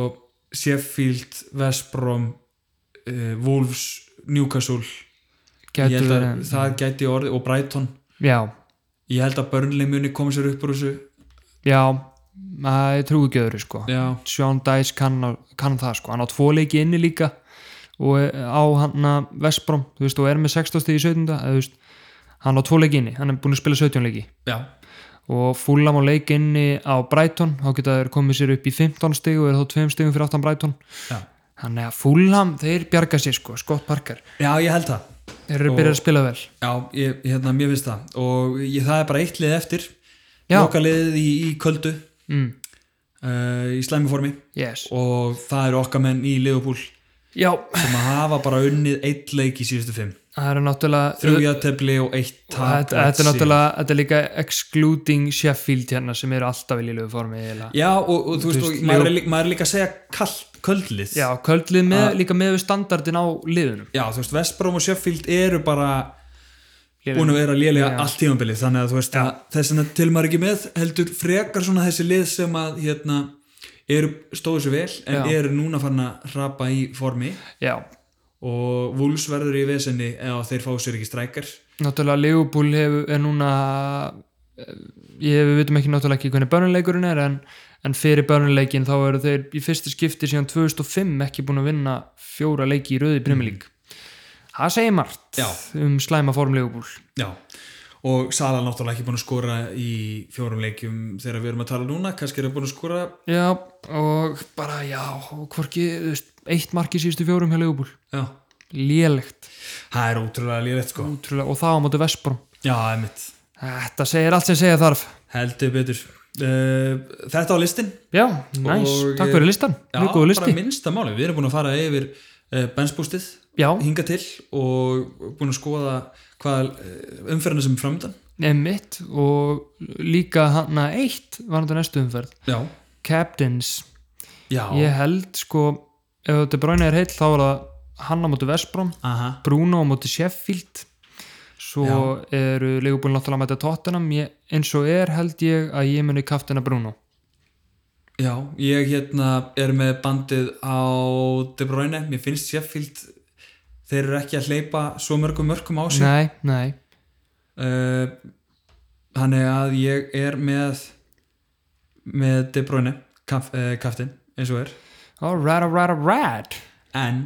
Sheffield, Vestbrom uh, Wolves, Newcastle ég
Gætu
held að
verið-
það gæti orðið og Brighton,
já,
ég held að Burnley muni koma sér upp úr þessu
já, að ég trúi ekki öðru sko
já,
Sean Dice kann, kann það sko hann á tvo leiki inni líka og er- á hann að Vestbrom þú veist, og er með 16 stig í 17 eða, þú veist, hann á tvo leiki inni, hann er búin að spila 17 leiki
já,
og Fulham á leik inni á Brighton þá geta þeir komið sér upp í 15 stig og er þá 2 stigum fyrir aftan Brighton
já
þannig að Fulham, þeir bjarga sér sko Scott Parker,
Já, ég held það.
þeir eru byrjað að spila vel
Já, ég, hérna, mér finnst það. Og ég, það er bara eitt lið eftir.
Já.
Lokaliðið í, í köldu,
mm,
uh, í slæmi formi.
yes
Og það eru okkar menn í Liverpool
já,
sem að hafa bara unnið eitt leik í síðustu fimm.
það eru náttúrulega
Þrjú jættefli og eitt tap.
þetta,
og eitt
þetta er
sigur.
náttúrulega, þetta er líka excluding Sheffield hérna sem eru alltaf í lílu formi eiginlega.
Já, og, og þú veist,
veist,
og maður, er líka, maður er líka að segja kall, köldlið.
já, köldlið
Ah.
með, líka með við standardin á liðunum
Já, þú veist, Vestbrom og Sheffield eru bara
Léleg.
búin að vera lélega
Já.
allt tímabilið þannig að þú veist að þess að til maður ekki með heldur frekar svona þessi lið sem að hérna, eru stóðu sér vel en
Já.
eru núna farin að hrapa í formi
já,
og Wolves verður í vesenni eða þeir fá sér ekki strækar
náttúrulega Leopold hefur, er núna eh, ég við veitum ekki náttúrulega ekki hvernig börnuleikurinn er en, en fyrir börnuleikin þá eru þeir í fyrsta skipti síðan 2005 ekki búin að vinna fjóra leiki í rauði primilík það segir margt
Já.
um slæma form Leopold
Já, og Sala náttúrulega ekki búin að skora í fjórum leikjum þegar við erum að tala núna, kannski er það búin að skora
já, og bara já og hvorki, þú veist, eitt marki síðustu fjórum hjá Leopold
Já,
lélegt
það er ótrúlega lélegt sko
Útrúlega, og það á móti Vestbrom
Já, emitt,
Þetta segir allt sem segja þarf
heldur betur uh, Þetta á listin
Já, næs,
Og,
takk
eh,
fyrir listan
Já,
Mjög góð listi
bara minnsta máli, við erum búin að fara yfir uh, bensbústið
Já,
hinga til og búin að skoða hvað uh, umferðina sem er framöndan
emitt og líka hann að eitt var þetta næstu umferð
Já,
Captains,
já,
ég held sko ef þetta bráinu er heill þá var það hann á móti Vestbrom
aha
Bruno á móti Sheffield svo eru leigubúin náttúrulega að mæta tóttunum ég, eins og er held ég að ég muni kaftina Bruno
Já, ég hérna er með bandið á De Bruyne, mér finnst Sheffield þeir eru ekki að hleypa svo mörgum mörgum á sig
Nei, nei,
uh, Þannig að ég er með með De Bruyne kaf, uh, kaftin, eins og er
alright, alright, alright
en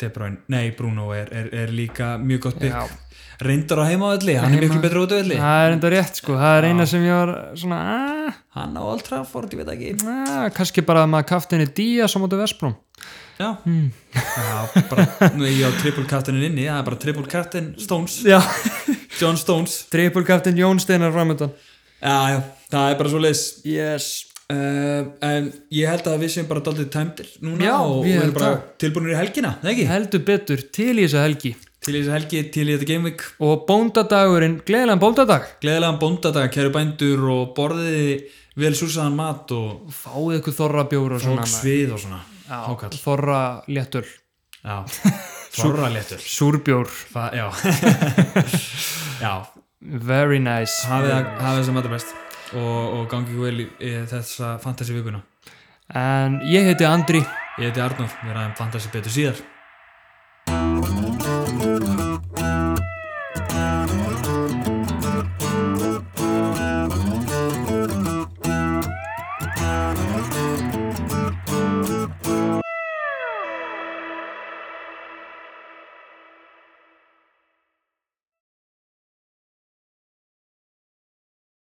De Bruyne, nei Bruno er, er, er líka mjög gott bygg
Já.
reyndar á heimavalli, hann er
Heima-
miklu betur út af velli
Það er enda rétt sko, það er eina sem ég var svona aah
hann á Old Trafford, ég veit ekki
Ah, kannski bara að maður kafti henni Díaz á móti Vestbróm
já,
Hmm.
já bara, nú er ég á triple captainin inni það er bara triple captain Stones
Já,
John Stones,
trippulkaftin Jón Steinar framöndan
já, já, það er bara svo leis
Yes
uh, en ég held að við séum bara daldið tæmdir núna
Já,
og
ég
við erum
held
bara tilbúinir í helgina, það ekki?
Heldur betur til í þessa helgi
til í þessu helgi, til í þetta gameweek
Og bóndadagurinn, gleðilegan bóndadag
gleðilegan bóndadag, kæru bændur og borðiði vel súsaðan mat og
Fáðu ykkur þorra bjóra og svona
fólk svið og svona
Já,
hákall,
Þorra léttul,
já, svara léttur
súrbjór
Það, já Já,
Very nice
hafið það hafið það sem allra best og, og gangi ykkur vel í, í þessa fantasy vikuna
en ég heiti Andri
Ég heiti Arnóf, við ræðum fantasy betur síðar